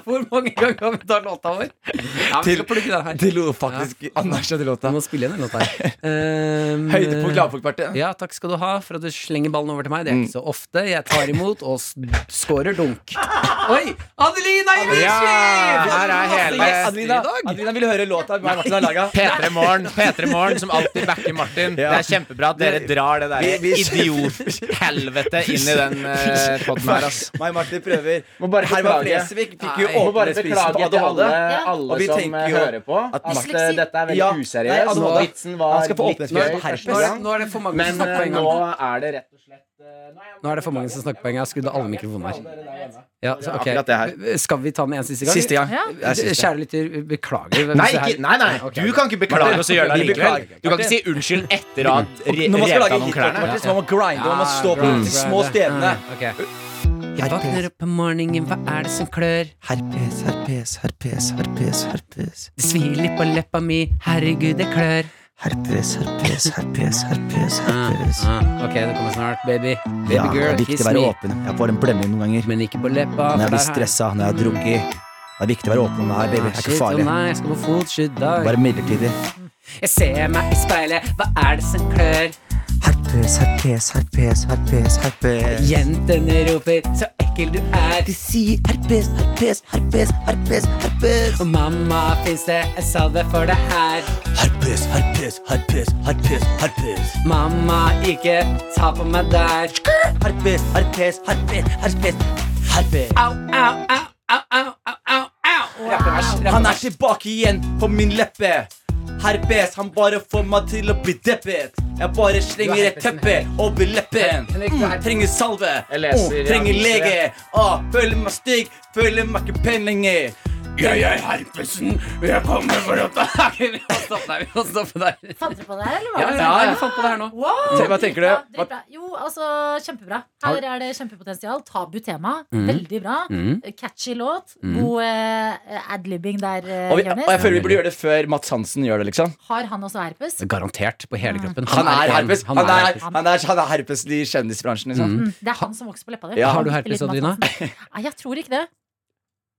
S3: Hvor mange ganger har vi tatt låta vår? Ja, vi
S2: Til-
S3: skal plukke den her.
S2: Til hun faktisk anerkjente låta.
S3: Vi må spille igjen en låt her. Um,
S2: Høydepunkt Lavfolkpartiet.
S3: Ja, takk skal du ha for at du slenger ballen over til meg. Det er
S2: Mm.
S3: ikke så ofte. Jeg tar imot og s- scorer dunk. Oi! Adelina
S4: Ja, her er hele
S2: Adelina, Adelina vil høre låta meg og Martin har laga.
S4: P3 Morgen, P3 Morgen som alltid backer Martin. Det er kjempebra at dere drar det der
S2: Vi- vi-
S4: idiothelvete inn i den eh, potten her, ass.
S2: Meg og Martin prøver.
S4: Må bare
S2: Herman
S4: beklage.
S2: Flesvig fikk
S3: Nei,
S2: jo
S3: jeg må
S4: bare
S2: åpenhetsprisen på
S4: beklage til
S2: ADHD.
S4: alle,
S2: Og
S4: alle
S2: vi
S4: som
S2: tenker
S4: eh,
S2: jo
S4: hører på,
S2: at
S4: at
S2: Martin-
S4: eh, dette er veldig
S2: Ja, nei,
S4: useriøst.
S2: ADHD.
S4: Nå, vitsen
S2: Han
S4: var
S2: skal få
S4: litt
S2: åpnet
S4: gøy
S2: for herpes.
S4: første
S3: Nå er, det,
S4: gang,
S3: nå er det for mange
S4: men
S3: som snakker
S4: eh,
S3: på en
S4: nå
S3: gang.
S4: er det rett og slett eh, nå er jeg-
S3: Nå er det for mange som snakker på en gang. Jeg har skrudd av alle mikrofonene her. Ja, så, ok.
S4: Akkurat det her.
S3: Skal vi ta den en siste gang? Eh,
S2: Siste gang. Det er siste.
S3: Kjære lytter, beklager. hvis
S4: Nei,
S3: det her-
S4: ikke, nei, nei,
S3: Ok.
S4: du kan ikke beklage oss og gjøre det
S2: Vi
S4: likevel.
S2: beklager.
S4: Du kan ikke si unnskyld etter å ha re-
S2: Når man skal lage
S4: revet av noen
S2: hit, Martin,
S4: klærne.
S2: så må man grinde, og man må stå på
S4: Mm.
S3: Grind,
S2: de små
S3: grind,
S2: stedene.
S3: Mm. ja, ok. Jeg våkner opp om morgenen, hva er det som klør?
S2: Herpes, herpes, herpes, herpes, herpes.
S3: Det svir litt på leppa mi, herregud, det klør.
S2: Herpes, herpes, herpes, herpes,
S3: Ah, ok, det kommer snart, baby. Baby
S2: Ja, det
S3: girl,
S2: er viktig
S3: kiss
S2: å være
S3: me.
S2: åpen. Jeg får en blemming noen ganger.
S3: Men ikke på leppa.
S2: Når jeg blir
S3: for der har- Ah,
S2: stressa, når jeg har drukket. Det er viktig å være åpen om det her, baby. Det er
S3: Shit,
S2: ikke
S3: å
S2: farlig.
S3: Nei, jeg skal på fotskydd dag.
S2: Bare midlertidig.
S3: Jeg ser meg i speilet, hva er det som klør?
S2: Herpes, herpes, herpes, herpes, herpes.
S3: Jentene roper, så ekkel du er.
S2: De sier herpes, herpes, herpes, herpes, herpes.
S3: Og mamma, fins det en salve for det her?
S2: Herpes, herpes, herpes, herpes, herpes.
S3: Mamma, ikke ta på meg der.
S2: Herpes, herpes, herpes, herpes, herpes.
S3: Au, au, au, au, au, au, au, au. Rappevers,
S2: Han
S3: rappevers.
S2: er tilbake igjen på min leppe. Herpes, han bare får meg til å bli deppet. Jeg bare slenger et teppe over leppen.
S3: Henrik,
S2: Mm,
S3: du er-
S2: trenger salve.
S4: Jeg leser
S2: Mm, trenger
S4: i avisen,
S2: lege. Ah, føler meg stygg, føler meg ikke pen lenger.
S3: Jeg er Herpesen, jeg kommer for å ta Vi må stoppe der. Vi må stoppe der.
S6: Fant dere på det her, eller var
S3: Ja,
S6: det
S3: ja, jeg fant på det her nå.
S2: Se, Hva tenker
S6: Ja,
S2: du? Hva,
S6: dritbra. Jo, altså, kjempebra. Her er det kjempepotensial. Tabu tema.
S3: Mm.
S6: Veldig bra.
S3: Mm.
S6: Catchy låt.
S3: Mm.
S6: God eh, adlibbing der, eh,
S2: og, vi, og
S6: Jonis.
S2: jeg føler vi burde gjøre det før Mats Hansen gjør det, liksom.
S6: Har han også herpes?
S3: Garantert på hele kroppen.
S2: Han er
S3: en-
S2: herpes Han er,
S3: herpes.
S2: han er, han er herpes i kjendisbransjen, liksom.
S6: Mm, det er han som vokser på leppa di.
S2: Ja.
S3: Har
S6: Han
S3: du
S6: bitte
S3: herpes,
S6: liten
S3: Adelina?
S6: masse. Nei, jeg tror ikke det.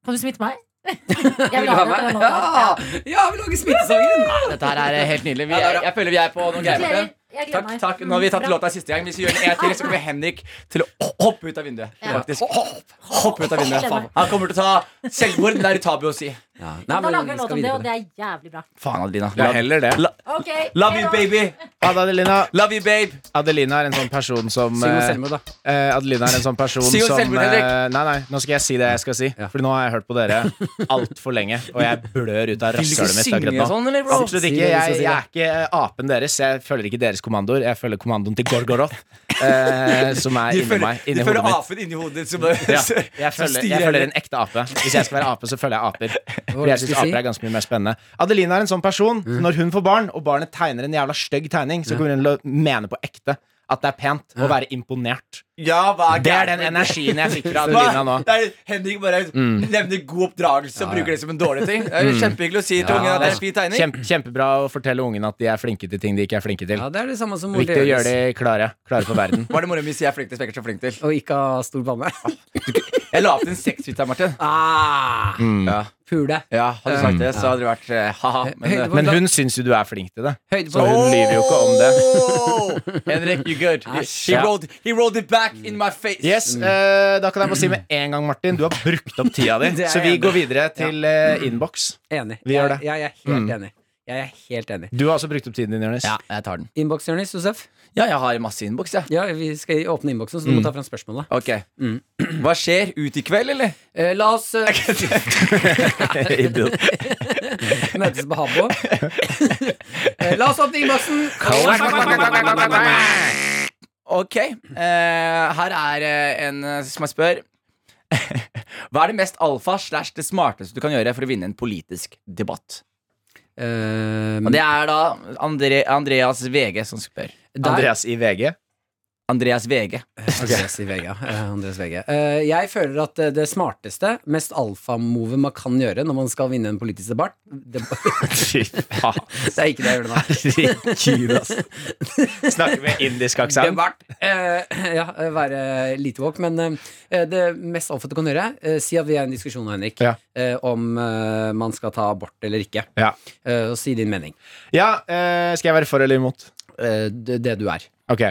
S6: Kan du smitte meg? Jeg
S3: Vil du ha meg? Ja, ja, vi lager smittesangen!
S2: Dette her er helt nydelig. Vi er, jeg føler vi er på noen greier. med
S6: Gratulerer.
S2: det.
S6: Jeg gleder
S2: Takk,
S6: meg.
S2: takk. Nå har vi tatt
S6: Bra.
S2: låta siste gang. Hvis vi gjør en til, så kommer Henrik til å hoppe ut av vinduet.
S6: Ja.
S2: Faktisk. Hopp, hopp ut av vinduet.
S6: Faen.
S2: Han kommer til å ta selvmord. men Det er tabu å si.
S3: Ja.
S6: Da
S3: Nei, men
S6: lager vi
S3: vi
S6: en
S3: skal
S6: låt om det,
S3: videre
S6: og
S3: på det.
S6: det er jævlig bra.
S2: Faen, Adelina.
S4: Det er heller det.
S2: La-
S6: Ok,
S2: Love you,
S6: hei da.
S2: baby.
S4: Ad Adelina,
S2: Love you, babe.
S4: Adelina er en sånn person som
S3: Syng om
S4: eh,
S3: selvmord, da.
S4: eh, Adelina er en sånn person
S2: Syng om
S4: som
S2: selvmord,
S4: eh,
S2: Henrik.
S4: Nei, nei, nå skal jeg si det jeg skal si.
S3: Ja.
S4: For nå har jeg hørt på dere altfor lenge, og jeg blør ut av
S2: Vil du ikke
S4: rasshølet mitt akkurat
S2: synge
S4: nå.
S2: sånn, eller, bro?
S4: Absolutt
S3: Si
S4: ikke.
S3: det du skal
S4: Jeg,
S3: si,
S4: jeg
S3: da.
S4: er ikke eh, apen deres. Jeg følger ikke deres kommandoer. Jeg følger kommandoen til Gorgoroth, eh, som er inni meg.
S2: du
S4: Inni
S2: føler
S4: hodet mitt.
S2: afen inni hodet ditt som bare-
S4: Ja,
S2: som
S4: jeg, følger,
S2: styrer
S4: jeg følger en
S2: hele-
S4: ekte ape. Hvis jeg skal være ape, så følger jeg aper. For jeg syns
S3: skulle du si?
S4: aper er ganske mye mer spennende. Adelina er en sånn person. Når hun får barn, og barnet tegner en jævla stygg tegning, så kommer hun til å mene på ekte at det er pent å være imponert.
S2: Ja, hva
S4: Det er
S2: gærent
S4: den
S2: med
S4: energien jeg fikk fra
S2: Hva?
S4: Adelina nå. Mm.
S2: Det er, Henrik bare nevner god oppdragelse og bruker det som en dårlig ting. Det er jo Kjempehyggelig å si til
S3: Ja,
S2: ungen at det er
S3: det
S2: en fin tegning.
S4: Kjempe, kjempebra å fortelle ungen at de er flinke til ting de ikke er flinke til.
S3: Ja, det er det samme som
S4: Viktig å
S3: Jonis.
S4: gjøre de klare. Klare for verden.
S2: Var det mora mi sier jeg er flink til spekert så flink til?
S3: Og ikke ha stor banne.
S2: Jeg la opp til en sexfit her, Martin.
S3: Ah,
S4: Mm.
S2: Ja.
S3: Pule.
S2: ja, Hadde du sagt det, så hadde det vært eh, ha-ha. Men, eh,
S3: Høydepunkt,
S4: Men
S3: da.
S4: hun syns jo du er flink til det. Så
S3: Høydepunkt.
S4: hun lyver jo ikke om det.
S2: det. Oh! Henrik, you good. He
S4: Ja.
S2: rolled, he rolled it back in my face.
S4: Yes,
S3: Mm.
S4: eh, Da kan jeg bare si med en gang, Martin, du har brukt opp tida di.
S3: Det er
S4: Så vi
S3: jeg enig
S4: går videre til eh, innboks.
S3: Enig.
S4: Vi gjør det.
S3: Jeg, jeg er helt enig. Jeg er helt enig.
S4: Du har også brukt opp tiden din, Jonis.
S2: Ja, jeg tar den.
S3: Innboks, Jonis Josef.
S2: Ja, jeg har masse innboks, jeg.
S3: Ja, vi skal åpne innboksen, så du må ta fram spørsmålet.
S2: Ok. Hva skjer? Ut i kveld, eller?
S3: Eh, la oss eh, møtes på Habbo. Eh, la oss åpne innboksen!
S2: Ok. eh, her er eh, en eh, som jeg spør. Hva er det mest alfa slash det smarteste du kan gjøre for å vinne en politisk debatt?
S3: Eh,
S2: Og det er da Andre, Andreas VG som spør.
S3: der-
S4: Andreas i VG.
S2: Andreas VG.
S3: Andreas i VG, ja. Eh, Andreas VG. Eh, Jeg føler at eh, det smarteste, mest alfamovet man kan gjøre når man skal vinne en politisk debatt deb-
S4: Fy faen.
S3: Det er ikke det jeg gjør nå.
S4: Herregud, ass. Snakker med indisk aksent.
S3: Debatt. Eh, ja, eh, være lite woke, men eh, det mest alfa du kan gjøre eh, Si at vi er i en diskusjon, Henrik,
S4: Ja.
S3: eh, om eh, man skal ta abort eller ikke.
S4: Ja,
S3: Eh, og si din mening.
S4: ja eh, skal jeg være for eller imot?
S3: Eh, det, det du er.
S4: Ok.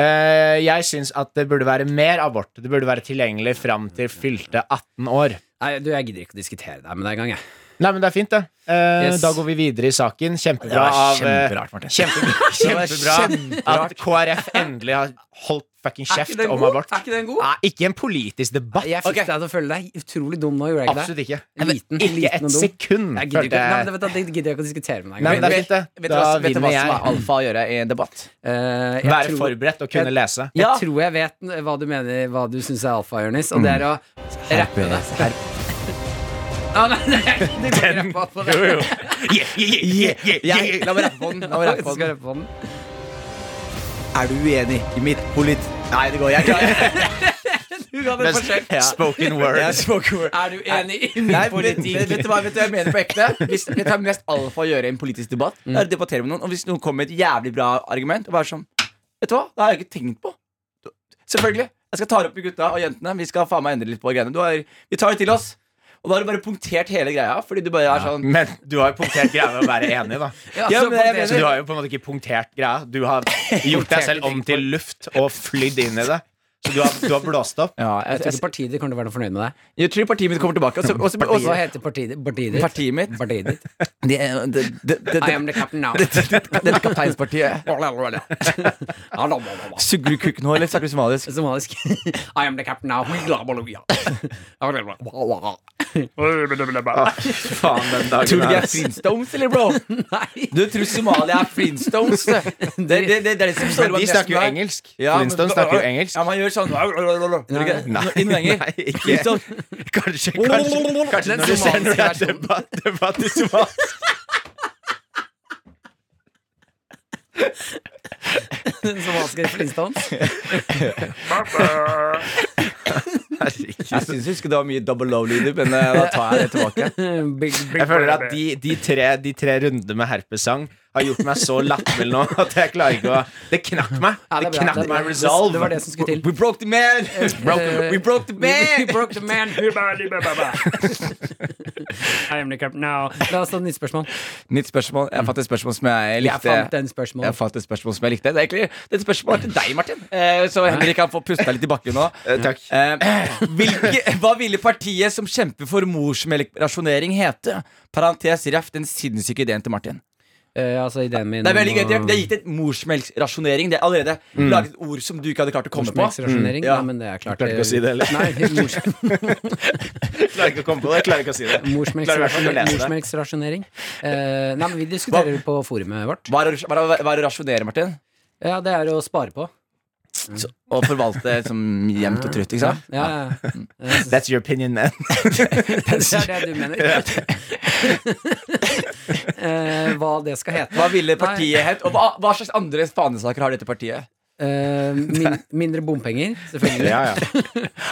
S4: Eh, jeg syns at det burde være mer abort. Det burde være tilgjengelig fram til fylte 18 år.
S3: Nei, du, jeg gidder ikke å diskutere det her med deg engang, jeg.
S4: Nei, men det er fint, det. Eh,
S3: Yes.
S4: Da går vi videre i saken. Kjempebra av eh,
S2: Martin.
S4: Kjempebra,
S2: Det
S4: kjempebra
S2: var
S4: at KrF endelig har holdt fucking kjeft om
S3: god?
S4: abort.
S3: Er ikke den god?
S4: Nei, ikke en politisk debatt.
S3: Jeg fikk
S2: Ok.
S3: deg til å føle deg utrolig dum nå, gjorde jeg ikke det?
S4: Absolutt ikke.
S3: Liten,
S4: Ikke
S3: liten
S4: et
S3: og dum. Mm. Jeg
S4: sekund. følte
S3: gidder ikke, nei, men
S4: jeg.
S3: det, vet du, det gidder jeg ikke å diskutere med deg
S4: Nei, men
S3: engang.
S4: det er fint, det.
S2: Vet du
S4: Da
S2: hva, vet du hva som er
S4: vinner jeg.
S2: alfa å gjøre i en debatt?
S3: Eh, jeg
S4: Være
S3: tror-
S4: forberedt og kunne lese.
S3: Jeg
S2: Ja.
S3: tror jeg vet n- hva du mener, hva du syns er alfa, Jonis, og det er å rappe det. Å, nei, nei, du kan ikke rappe på det.
S2: Jeg, la meg rappe på den. La meg rappe
S3: Du
S2: på
S3: skal
S2: den.
S3: rappe på den.
S2: Er du uenig i mitt polit... Nei, det går jeg klarer
S3: Du kan det forsøke.
S2: Ja.
S4: Spoken word.
S2: Jeg spoke word.
S3: Er du enig i
S2: Nei,
S3: min
S2: men,
S3: politikk?
S2: men vet, du hva, vet du hva jeg mener på ekte? Hvis vet du hva er mest alfa å gjøre i en politisk debatt,
S3: Mm.
S2: Det er å debattere med noen. Og hvis noen kommer med et jævlig bra argument, og bare sånn Vet du hva, det har jeg ikke tenkt på. Selvfølgelig. Jeg skal ta det opp med gutta og jentene. Vi skal faen meg endre litt på greiene. Du har, vi tar det til oss. Og da har du bare punktert hele greia, fordi du bare er sånn
S4: Men du har jo punktert greia med å være enig, da.
S3: Ja,
S2: Ja,
S3: så
S2: men
S3: på
S2: jeg
S3: det-
S4: Så du har jo på en måte ikke punktert greia. Du har gjort deg selv om til luft og flydd inn i det. Så du har, du har blåst opp.
S2: ja,
S3: Jeg tror ikke partiet ditt kommer til å være noe fornøyd med deg.
S2: Jeg tror partiet mitt kommer tilbake. Og så, og så, og
S3: Hva
S2: så,
S3: heter partiet ditt? Partiet ditt?
S2: partiet mitt
S3: Partiet ditt.
S2: det, det, det, det,
S3: I am the captain now.
S2: Dette kapteinspartiet.
S3: Somalisk.
S2: Sugger du kukken nå, eller snakker du somalisk?
S3: I am the captain now.
S4: Faen, den
S2: Tror
S4: dagen
S2: du de er
S4: her.
S2: Flintstones, eller, bro?
S3: Nei.
S2: Du tror Somalia er Flintstones, du. Det, det, det, det er liksom sånn det som står
S4: Men
S2: bak
S4: de snakker jo
S2: resten her.
S4: engelsk.
S2: Ja, men-
S4: Flintstones snakker jo engelsk.
S2: Ja, man gjør sånn
S4: Nei.
S2: Ingen lenger.
S4: Nei, ikke.
S2: Sånn.
S4: Kanskje, kanskje, kanskje
S3: Den
S4: når du ser når det er
S3: somaliske versjonen.
S4: debatt, debatt i Somalia.
S3: Den somaliske Flintstones.
S4: Herregud.
S2: Jeg syns jeg husker det var mye double low-lyder, men eh, da tar jeg det tilbake.
S3: Big, big
S4: Jeg føler at de, de, tre, de tre rundene med herpesang har gjort meg så lattermild nå at jeg klarer ikke å Det knakk meg.
S3: Ja,
S4: Det
S3: det er bra.
S4: knakk
S3: Det-
S4: meg
S3: det-
S4: resolve.
S3: det var det som skulle til.
S2: We broke the man!
S3: Broke-
S2: we broke the
S3: We
S2: man!
S3: broke the man. I am the captain now. La oss ta et nytt spørsmål.
S2: Nytt spørsmål. Jeg fant et spørsmål som jeg
S3: Jeg
S2: likte.
S3: fant den spørsmålet.
S2: Jeg fant et spørsmål som jeg likte. Det er egentlig det spørsmålet er til deg, Martin. Eh, Så Henrik kan få puste litt i bakken nå.
S4: Eh, Takk.
S2: Eh, hvilke, hva ville partiet som kjemper for morsmelkrasjonering hete? Parentes Raff, den sinnssyke ideen til Martin.
S3: Eh, altså, ideen min
S2: Det er veldig gøy.
S3: om
S2: De
S3: å-
S2: har de har gitt et morsmelkrasjonering. Det er allerede laget et ord som du ikke hadde klart å komme på.
S3: Morsmelksrasjonering.
S2: Ja.
S3: Nei, men det er klart.
S4: Klarte Mm, ikke å si det heller.
S3: Nei, mors,
S4: Jeg klarer ikke å komme på det. Jeg klarer ikke å si det. Klarer i hvert fall ikke å lese det.
S3: morsmelksrasjonering. Eh, nei, men vi diskuterer det på forumet vårt.
S2: Hva er, å- hva, er, å- hva er å rasjonere, Martin?
S3: Ja, det er å spare på.
S2: Så- Å forvalte som jevnt og trutt, ikke sant?
S3: Ja, ja.
S4: Ah. That's your opinion, man.
S3: Det er det du mener. Eh, hva det skal hete.
S2: Hva ville partiet hett? Og hva, hva slags andre fanesaker har dette partiet?
S3: Eh, min, mindre bompenger, selvfølgelig.
S4: Ja, ja.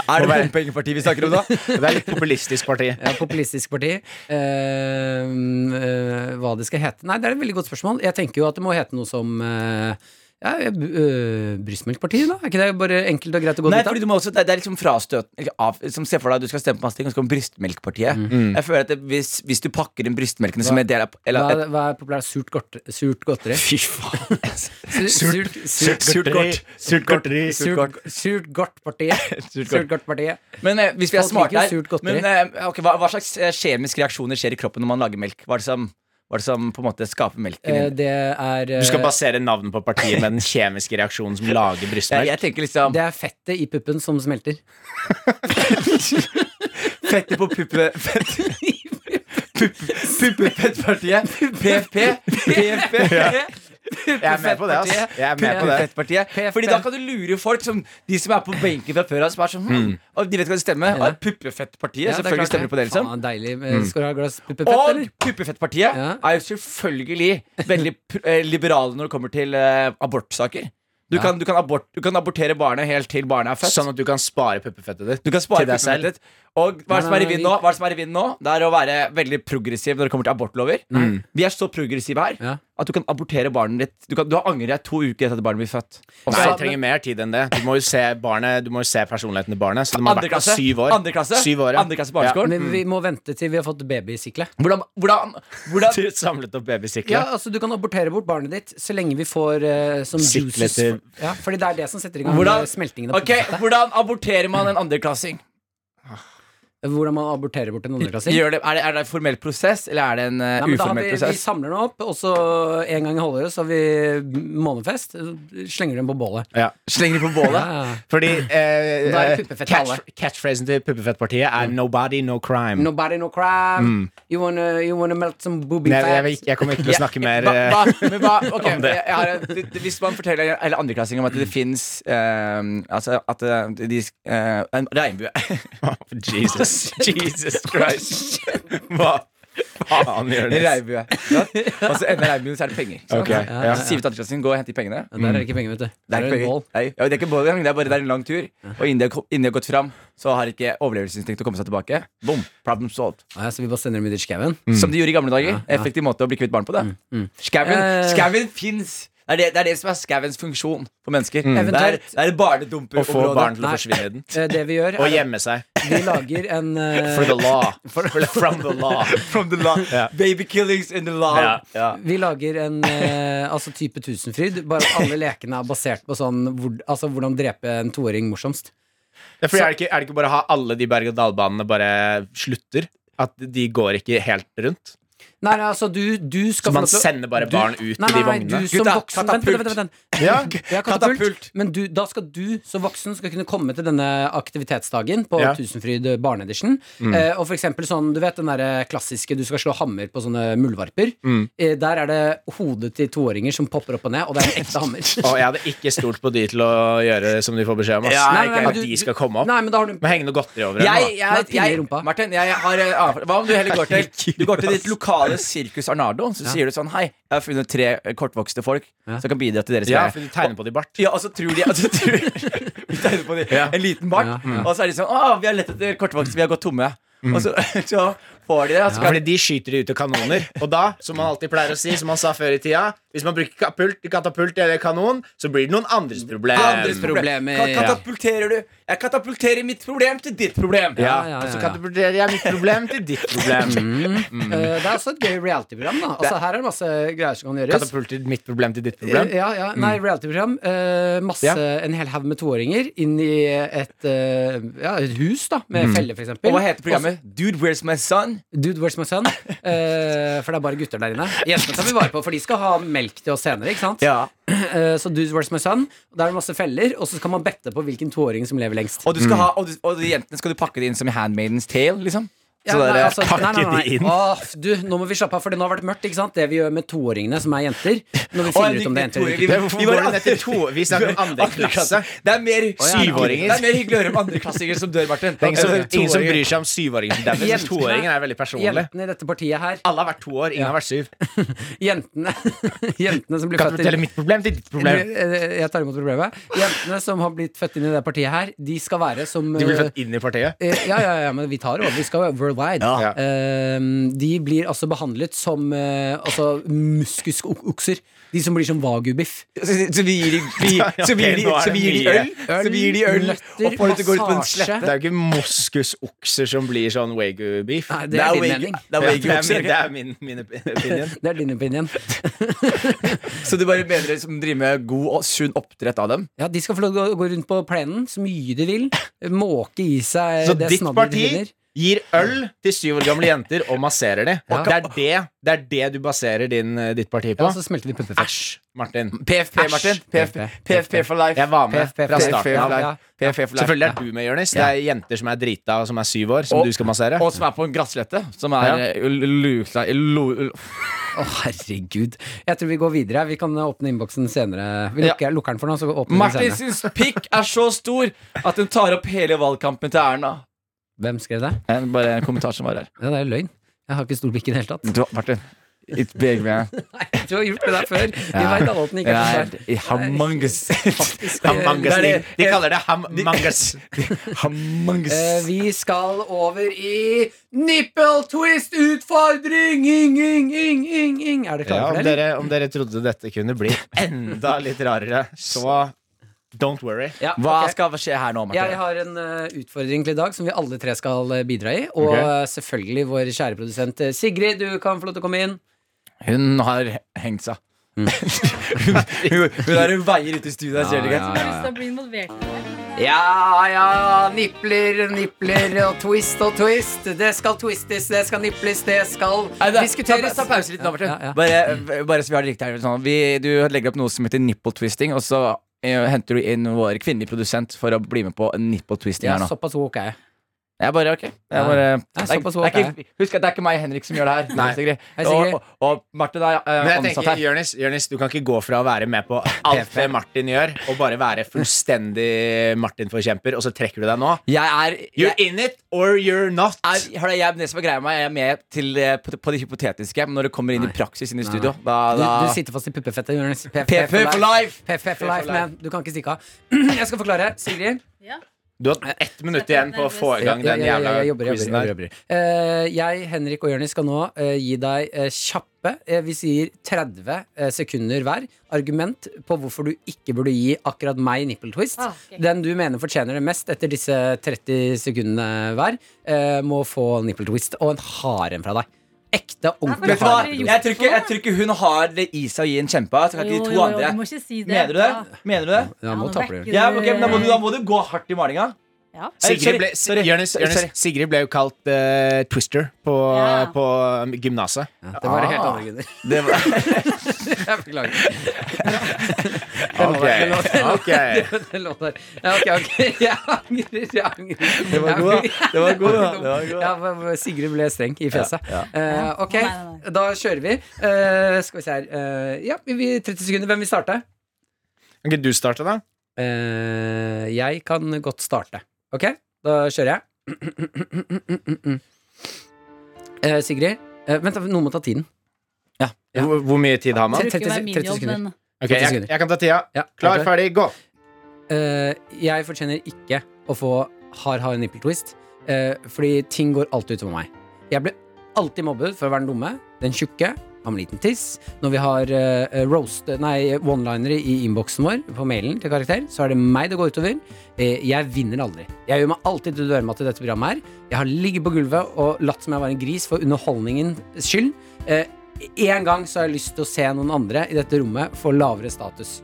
S2: Er det bompengepartiet vi snakker om da?
S4: Det er litt populistisk parti.
S3: Ja, populistisk parti. Eh, eh, hva det skal hete? Nei, det er et veldig godt spørsmål. Jeg tenker jo at det må hete noe som eh, ja, uh, Brystmelkpartiet, da? Er ikke det bare enkelt og greit å gå
S2: Nei,
S3: dit av?
S2: fordi du må også, det, det er liksom frastøt eller av, Som ser for deg at du skal stemme på masse ting Og så kommer brystmelkpartiet Jeg føler at det, hvis, hvis du pakker inn brystmelkene som en del av
S3: Hva,
S2: eller,
S3: er- hva er populært? Surt, godt, surt godteri?
S2: Fy faen
S3: Surt, surt, surt,
S4: Surtgodteri. Surtgodteri.
S3: surt, surt godt-partiet. Surt godt-partiet.
S2: Men eh, hvis vi er
S3: Folk
S2: smarte
S3: liker
S2: her
S3: jo surt godteri.
S2: men, eh, ok, hva, hva slags eh, kjemiske reaksjoner skjer i kroppen når man lager melk? Hva er det som, hva er det som på en måte skaper melken?
S3: Eh,
S2: din?
S3: det er eh,
S4: Du skal basere navnet på partiet med den kjemiske reaksjonen som lager
S2: jeg,
S4: brystmelk.
S2: jeg tenker liksom
S3: Det er fettet i puppen som smelter.
S2: Fettet på puppe... Fett. Puppepettpartiet. PFP. PFP.
S4: Jeg er med på det, ass. Jeg er med på det.
S2: Puppepettpartiet. Fordi da kan du lure folk som de som er på benken fra før av, som er sånn hm, Og de vet hva det stemmer. Og Puppefettpartiet.
S3: Ja, det er
S2: selvfølgelig
S3: klart
S2: stemmer de på det, liksom.
S3: Faen, deilig. Eh, Skal du ha et glass puppefett,
S2: Og
S3: eller?
S2: Puppefettpartiet
S3: Ja.
S2: er jo selvfølgelig veldig pr- eh, liberale når det kommer til eh, abortsaker. Du,
S3: Ja.
S2: kan, du, kan abort, du kan abortere barnet helt til barnet er født.
S4: Sånn at du kan spare puppefettet ditt.
S2: Du kan spare
S4: Til deg selv.
S2: puppefettet. Og hva er det som er i
S3: Nei,
S2: vinden nå? Hva er Det som er i vinden nå? Det er å være veldig progressiv når det kommer til abortlover. Vi er så progressive her
S3: Ja.
S2: at du kan abortere barnet ditt. Du, kan, du har angret deg to uker etter at barnet blir født.
S4: Nei,
S3: Så-
S4: det trenger mer tid enn det. Du må jo se, barnet, du må jo se personligheten til barnet. Så det må ha
S2: Andre
S4: vært der
S2: klasse,
S4: syv år.
S2: andre klasse,
S4: Syv år, ja.
S2: andre klasse barneskolen.
S3: Men vi må vente til vi har fått babysikle.
S2: Hvordan, hvordan,
S4: Ja.
S2: hvordan
S4: Du samlet opp
S3: Ja,
S4: babysykler.
S3: altså Du kan abortere bort barnet ditt så lenge vi får eh, som
S4: Sikle
S3: juices
S4: til-
S3: ja, Fordi det er det som setter i gang
S2: Hvordan-
S3: eh, smeltingen. av
S2: Ok, hvordan aborterer man en andreklassing?
S3: puppefettet. Hvordan man aborterer bort en andreklassing.
S2: Gjør det- Er, det- er det en formell prosess, eller er det en eh,
S3: Nei, men da har
S2: uformell
S3: vi, vi
S2: prosess?
S3: samler den opp, og så en gang i halvåret så har vi månefest. Slenger den på bålet. Ah,
S4: Ja.
S2: Slenger de på bålet?
S3: Ja.
S4: Fordi eh,
S3: Da er det
S4: eh,
S3: puppefett
S4: catch,
S3: alle.
S4: catchphrasen til Puppefettpartiet
S2: Mm.
S4: er 'nobody, no crime'.
S3: Nobody no crime. You, wanna, you wanna melt some booby
S4: Nei, jeg,
S3: fat.
S4: vil ikke- jeg kommer ikke til å snakke mer.
S2: hva,
S4: eh,
S2: hva, men hva, ok,
S4: om det.
S2: jeg, jeg har, en- det- det- Hvis man forteller Eller andreklassinger om at det fins eh, Altså at eh, de eh, En regnbue
S4: Jesus, Jesus Christ. Hva faen gjør
S2: En regnbue ja. Og så ender regnbuen, så er det penger. ikke sant?
S4: Ok, ja.
S2: Så sier vi til andreklassingen gå og hente de pengene.
S3: Ja, Der er det ikke penger, vet du.
S2: Mm. Det er,
S3: Der
S2: ikke
S3: en
S2: penger.
S3: bål.
S2: Nei, ja, det er ikke bål engang, det er bare det er en lang tur. Og innen de har ko- innen de har gått fram, så har ikke overlevelsesinstinktet kommet seg tilbake. Boom, problem solved
S3: Ja, så vi bare sender dem ut i skauen.
S4: Mm.
S2: Som de gjorde i gamle dager. Effektiv måte å bli kvitt barn på. det Skauen,
S3: Eh.
S2: skauen fins! Det er det, det er det som er skauens funksjon for mennesker. Det, er,
S3: Eventuelt-
S2: det er et barnedumperområde.
S4: Mm. Å få barn til å
S3: Nei.
S4: forsvinne i den.
S3: Eh, Det vi gjør,
S4: Og
S3: er
S4: gjemme seg.
S3: at vi lager en eh,
S4: For the law.
S3: For-
S4: For- From the law.
S2: From the law.
S4: Ja.
S2: Baby killings in the law.
S4: Ja.
S3: Vi lager en eh, altså type Tusenfryd, bare at alle lekene er basert på sånn hvor, altså, hvordan drepe en toåring morsomst.
S4: Ja, fordi er, det ikke, er det ikke bare å ha alle de berg-og-dal-banene bare slutter? At de går ikke helt rundt?
S3: Nei, nei, altså, du, du skal
S4: Så man
S3: få lov til å-
S4: sender bare
S3: du-
S4: barn
S3: Nei,
S4: ut i de
S3: nei,
S4: vognene?
S3: du som
S2: Gutta,
S3: voksen Vent, vent, vent, vent, vent.
S4: Ja.
S3: Ja, katapult,
S2: Katapult.
S3: Men du, da skal du som voksen skal kunne komme til denne aktivitetsdagen på
S4: Ja.
S3: Tusenfryd barneedition.
S4: Mm.
S3: Eh, og for eksempel sånn, du vet den der klassiske du skal slå hammer på sånne muldvarper.
S4: Mm.
S3: Eh, der er det hodet til toåringer som popper opp og ned, og det er en ekte hammer.
S4: Og jeg hadde ikke stolt på de til å gjøre som de får beskjed om. ass.
S2: Ja,
S3: Nei, nei, nei,
S4: at
S3: du-
S4: de skal komme opp.
S3: Nei, men da har du
S4: Må henge noe godteri over
S2: Jeg,
S4: henne. da.
S2: jeg,
S3: Nei,
S2: jeg,
S3: pinne i rumpa.
S2: Martin, jeg har eh, avfall. Hva om du heller går til Du går til ditt lokale Sirkus Arnardo, så
S3: Ja.
S2: sier du sånn Hei, jeg har funnet tre eh, kortvokste folk
S3: Ja.
S2: som kan bidra til deres
S4: Ja,
S2: greie.
S4: for de tegner på det i bart.
S2: Ja, og så tror de at de tegner på de,
S4: Ja. Mm.
S2: en liten bart,
S3: Ja, ja.
S2: og så er de sånn Å, vi har lett etter kortvokst, vi har gått tomme. Og så, så får de det. Og så
S4: Ja.
S2: kan
S4: Fordi de skyter de ut av kanoner. Og da, som man alltid pleier å si, som man sa før i tida Hvis man bruker kapult, katapult eller kanon, så blir det noen andres problem.
S2: andres
S3: problemer,
S2: Ka-
S3: ja.
S2: Katapulterer du Jeg katapulterer mitt problem til ditt problem.
S4: Ja,
S3: Ja, ja, ja,
S4: Og så
S3: ja.
S4: katapulterer jeg mitt problem til ditt problem.
S2: Mm.
S3: Eh, Det er også et gøy reality-program, da. Altså, her er det masse greier som kan gjøres.
S4: Katapulter mitt problem til ditt
S3: Ja,
S4: problem.
S3: ja, nei,
S2: Mm.
S3: reality-program. Eh, masse,
S4: Ja.
S3: En hel haug med toåringer inn i et, eh, ja, et hus, da, med felle, for eksempel.
S2: Mm. Og hva heter programmet? Dude, where's my son?
S3: Dude, where's my son? Eh, for det er bare gutter der inne. Jentene tar vi vare på, for de skal ha melk til oss senere. ikke sant?
S2: Ja.
S3: Eh, så dude, where's my son? Der er det masse feller, og så kan man bette på hvilken toåring som lever lengst.
S2: Og, du
S4: Mm.
S2: skal ha, og, du, og de jentene skal du pakke det inn som i Handmaidens Tale, liksom?
S3: Ja,
S2: Så
S3: nei,
S2: dere-
S3: altså, nei, nei, nei.
S4: pakke de inn.
S3: Åh, du, nå må vi slappe av, for det nå har vært mørkt. ikke sant? Det vi gjør med toåringene, som er jenter.
S2: Å, jeg
S3: Når vi finner ut
S2: liker
S3: om det er jenter eller
S2: toåringer.
S3: ikke.
S4: Det- Hvorfor
S2: Vi var
S4: går
S2: i
S4: den etter to? Vi snakker om andre klasse.
S2: Det er mer
S3: ja, ja.
S2: syvåringer. Det er mer hyggelig å høre om andreklassinger som dør, Martin.
S4: Det er ingen som,
S3: eh,
S2: Enn å høre
S4: ingen som
S2: toåringer.
S4: bryr seg om syvåringen som dauer.
S3: Jentene-
S4: Toåringen er veldig personlig.
S3: Jentene i dette partiet her
S4: Alle har vært to år, ingen har vært syv.
S3: Jentene, jentene som blir
S4: Kan
S3: født
S4: du fortelle mitt problem til ditt problem?
S3: Eh, Jeg tar imot problemet. Jentene som har blitt født inn i det partiet her, de skal være som
S4: De blir
S3: eh,
S4: født inn i partiet.
S3: Eh, ja, ja, ja, men vi tar over. Vi skal være worldwide.
S4: Ja.
S3: Eh, de blir altså behandlet som eh, altså, muskusokser. De som blir som wagyubiff.
S2: Så, så vi gir de, vi, så vi gir de, så vi gir de øl, så vi gir de øl og får dem til å gå ut på en slette.
S4: Det er jo ikke moskusokser som blir sånn wagyu-beef.
S3: Nei, det er din
S2: wagyu-
S3: mening.
S2: det er
S4: min, det
S2: wagyu-okser.
S4: er min, min opinion.
S3: Det er din opinion.
S2: Så du bare mener de som driver med god og sunn oppdrett av dem?
S3: Ja, de skal få lov til å gå- gå rundt på plenen så mye de vil. Måke i seg
S4: Så
S3: det
S4: ditt
S3: snabberet de
S4: parti
S3: finner.
S4: gir øl til syv år gamle jenter og masserer de.
S3: Ja.
S4: Det, er det, det er det du baserer din, eh, ditt parti på.
S3: Ja, så smelter vi puppefisk.
S4: Æsj, Martin.
S2: PFP,
S4: Æsj.
S2: Martin. PFP, PFP for life.
S4: Jeg var med fra
S2: PFP
S4: starten
S2: for
S4: av.
S2: life.
S3: Ja.
S2: PFP for life.
S4: Selvfølgelig er du med, Jonis. Det er jenter som er drita og som er syv år, som
S2: Og-
S4: du skal massere.
S2: Og som er på en gresslette. Som er
S4: Ja.
S2: eh, lusa lo-
S3: Å, herregud. Jeg tror vi går videre. Vi kan eh, åpne innboksen senere. Vi
S2: Ja.
S3: lukker, lukker den for nå, så åpner vi den
S2: Martin
S3: senere.
S2: syns pikk er så stor at hun tar opp hele valgkampen til Erna.
S3: Hvem skrev det?
S2: Eh, Bare en kommentar som var her.
S3: Ja, det er løgn. Jeg har ikke stor blikk i det hele tatt.
S2: Du, Martin. It big man.
S3: Du har gjort det der før. Vi vet alle at den ikke er sånn så svær.
S2: I Hamangus.
S4: Hamangas.
S2: Det Eh, er
S4: De,
S2: det-
S4: eh, de kaller det hamangas.
S2: Hamangus.
S3: Eh, vi skal over i nipple twist utfordring! Ing, ing, ing, ing, ing. Er dere
S4: Ja,
S3: klare
S4: om,
S3: for det? eller?
S4: dere, om dere trodde dette kunne bli enda litt rarere, så don't worry.
S3: Ja,
S2: Hva
S3: ok.
S2: skal skje her nå,
S3: Jeg
S2: Martin?
S3: har en eh, utfordring til i dag som vi alle tre skal eh, bidra i. Og
S4: Ok.
S3: eh, selvfølgelig vår kjære produsent eh, Sigrid, du kan få lov til å komme inn.
S2: Hun har hengt seg.
S4: Mm.
S2: hun, hun er hun veier ute i studioet. ser du ikke?
S6: Jeg har lyst til å bli involvert i det.
S3: Ah, Ja, ja, nipler, nipler og twist og twist. Det skal twistes, det skal niples, det skal
S2: Nei, det-
S3: diskuteres.
S2: Ta, ta pause litt nå, Martin.
S3: Ja, ja.
S2: Bare, eh, bare så vi har det riktig her. Sånn. Vi, du legger opp noe som heter nipple twisting, og så eh, henter du inn vår kvinnelige produsent for å bli med på nipple twisting
S3: Ja,
S2: her nå.
S3: såpass woke er jeg.
S2: Jeg bare, ok jeg bare,
S3: Nei,
S2: det er- det
S3: såpass
S2: er
S3: woke er
S2: ikke, Husk at det er ikke meg og Henrik som gjør det her.
S4: Nei.
S2: Sigrid.
S3: Hei, Sigrid.
S2: Og, og, og Marte er eh,
S4: Men jeg
S2: ansatt
S4: tenker,
S2: her.
S4: Jørnis, Jørnis, du kan ikke gå fra å være med på alt det Martin gjør, og bare være fullstendig Martin-forkjemper, og så trekker du deg nå.
S2: Jeg er,
S4: You're
S2: jeg,
S4: in it or you're not.
S2: er, hør da, jeg, det som er greia med meg, jeg er med til, eh, på, på det hypotetiske, men når det kommer inn i praksis inn i studio, da,
S3: Du,
S2: da
S3: du sitter fast i puppefettet. Jonas. PFF
S2: PFF for life!
S3: PFF for life, man. Du kan ikke stikke av. Jeg skal forklare. Sigrid.
S6: Ja.
S4: Du har ett minutt igjen på å få i gang
S3: Ja, ja,
S4: den
S3: ja, ja,
S4: jævla
S3: jeg jobber, jobber,
S4: quizen der.
S3: jobber, jobber. Eh, jeg, Henrik og Jonis skal nå eh, gi deg eh, kjappe eh, Vi sier 30 eh, sekunder hver. Argument på hvorfor du ikke burde gi akkurat meg nipple twist.
S6: Ah, ok.
S3: Den du mener fortjener det mest etter disse 30 sekundene hver, eh, må få nipple twist. Og en hard en fra deg. Ekte,
S6: Nei,
S3: ordentlig
S2: Vet du
S6: for
S2: hva?
S3: hard.
S6: det
S3: nipple twist.
S2: Jeg tror ikke, jeg tror ikke hun har det i seg å gi en kjempe. Så kan ikke de to andre
S6: du må ikke si det.
S2: Mener du det?
S6: Ja.
S2: Mener du det?
S3: Ja, nå
S6: nå
S3: taper du.
S6: vekker
S2: Ja, ok, men da, må du, da må du gå hardt i malinga.
S6: Ja.
S4: Sigrid ble,
S2: sorry,
S4: Jonis,
S2: sorry,
S4: Jonis,
S2: sorry.
S4: Sigrid ble jo kalt eh, Twister på,
S6: Ja.
S4: på um, gymnaset.
S3: Det var helt
S6: Ah.
S3: andre grunner.
S2: Det var,
S3: Jeg beklager.
S4: Ok,
S3: være
S4: ok.
S3: Det lå der. Ja, ok, ok. Jeg angrer. Jeg angrer.
S2: det var god, da. Det var god, da. Det var god, da.
S3: Ja, hva- hva- Sigrid ble streng i fjeset. Eh, ok,
S6: Nei, nei, nei.
S3: da kjører vi. Eh, skal vi se her Eh, Ja, vi- vi, 30 sekunder. Hvem vil starte?
S4: Kan ikke du starte, da?
S3: Eh, jeg kan godt starte. Ok, da kjører jeg. Eh, Sigrid, eh, vent, da, noen må ta tiden. Ja.
S4: Hvor, hvor mye tid har man?
S3: Tre-
S6: Det
S3: 30
S6: skulle være min jobb,
S3: sekunder.
S6: men
S4: Ok,
S3: 30
S4: jeg,
S3: sekunder.
S4: jeg kan ta tida.
S3: Ja,
S4: Klar, ferdig, gå!
S3: Eh, jeg fortjener ikke å få hard-hard nipple twist, eh, fordi ting går alltid utover meg. Jeg blir alltid mobbet for å være den dumme, den tjukke, har med liten tiss. Når vi har eh, roast, nei, one-linere i innboksen vår på mailen til karakter, så er det meg det går utover. Eh, jeg vinner aldri. Jeg gjør meg alltid til dørmat til dette programmet her. Jeg har ligget på gulvet og latt som jeg var en gris for underholdningens skyld. Eh, en gang så har jeg lyst til å se noen andre i dette rommet få lavere status.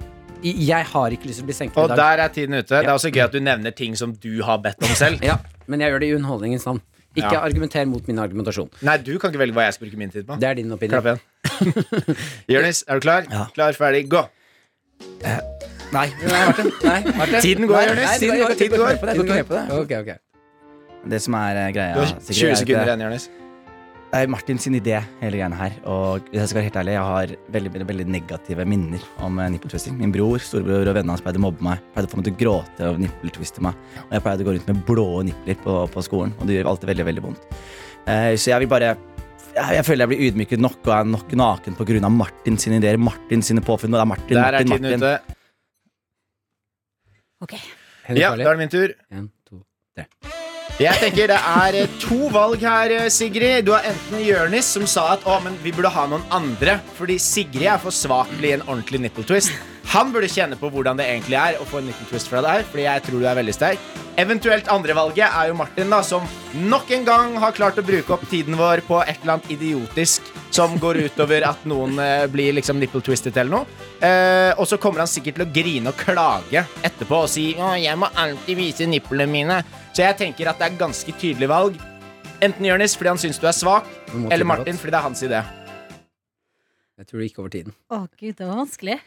S3: I- Jeg har ikke lyst til å bli senket i
S4: Og
S3: dag.
S4: der er tiden ute. Det er også gøy at du nevner ting som du har bedt om selv.
S3: Ja, men jeg gjør det i underholdningens navn. Ikke
S4: Ja.
S3: argumenter mot min argumentasjon.
S4: Nei, du kan ikke velge hva jeg skal bruke min tid på.
S3: Det er din opinion.
S4: Klapp igjen. Jonis, er du klar?
S2: Ja.
S4: Klar, ferdig, gå!
S2: Nei.
S4: Tiden går, Jonis.
S2: Nei,
S4: Tiden går. Tiden går.
S2: Jeg går ikke med på det.
S3: Ok, ok.
S2: Det som er eh,
S4: Du
S2: greia
S4: har
S2: Sigrid,
S4: 20
S2: er at
S4: sekunder
S2: det-
S4: igjen, Jonis.
S2: Det er Martin sin idé, hele greiene her. Og hvis jeg skal være helt ærlig, jeg har veldig veldig, veldig negative minner om eh, nippeltwisting. Min bror, storebror og vennene hans pleide å mobbe meg. Pleide å få meg til å gråte og nippeltwiste meg. Og jeg pleide å gå rundt med blå nipler på, på skolen, og det gjør alltid veldig, veldig vondt. Eh, så jeg vil bare jeg, jeg føler jeg blir ydmyket nok og er nok naken på grunn av Martin sine ideer, Martin sine påfunn. Og det er Martin,
S4: Der er
S2: Martin,
S4: tiden
S2: Martin.
S4: ute.
S6: ok.
S3: Henrik
S4: Ja,
S3: Farley.
S4: da er det min tur.
S3: En, to.
S4: Jeg tenker Det er eh, to valg her, eh, Sigrid. Du har enten Jonis, som sa at å, men vi burde ha noen andre, fordi Sigrid er for svak til å gi en ordentlig nipple twist. Han burde kjenne på hvordan det egentlig er å få en nipple twist fra deg. Fordi jeg tror du er veldig sterk Eventuelt andrevalget er jo Martin, da som nok en gang har klart å bruke opp tiden vår på et eller annet idiotisk som går utover at noen eh, blir liksom nipple twisted eller noe. Eh, og så kommer han sikkert til å grine og klage etterpå og si Å, jeg må alltid vise nipplene mine. Så jeg tenker at det er ganske tydelig valg. Enten Jonis fordi han syns du er svak,
S3: Du må
S4: eller
S3: tippe
S4: Martin
S3: godt.
S4: fordi det er hans idé.
S3: Jeg tror det gikk over tiden.
S6: Å, gud, det var vanskelig.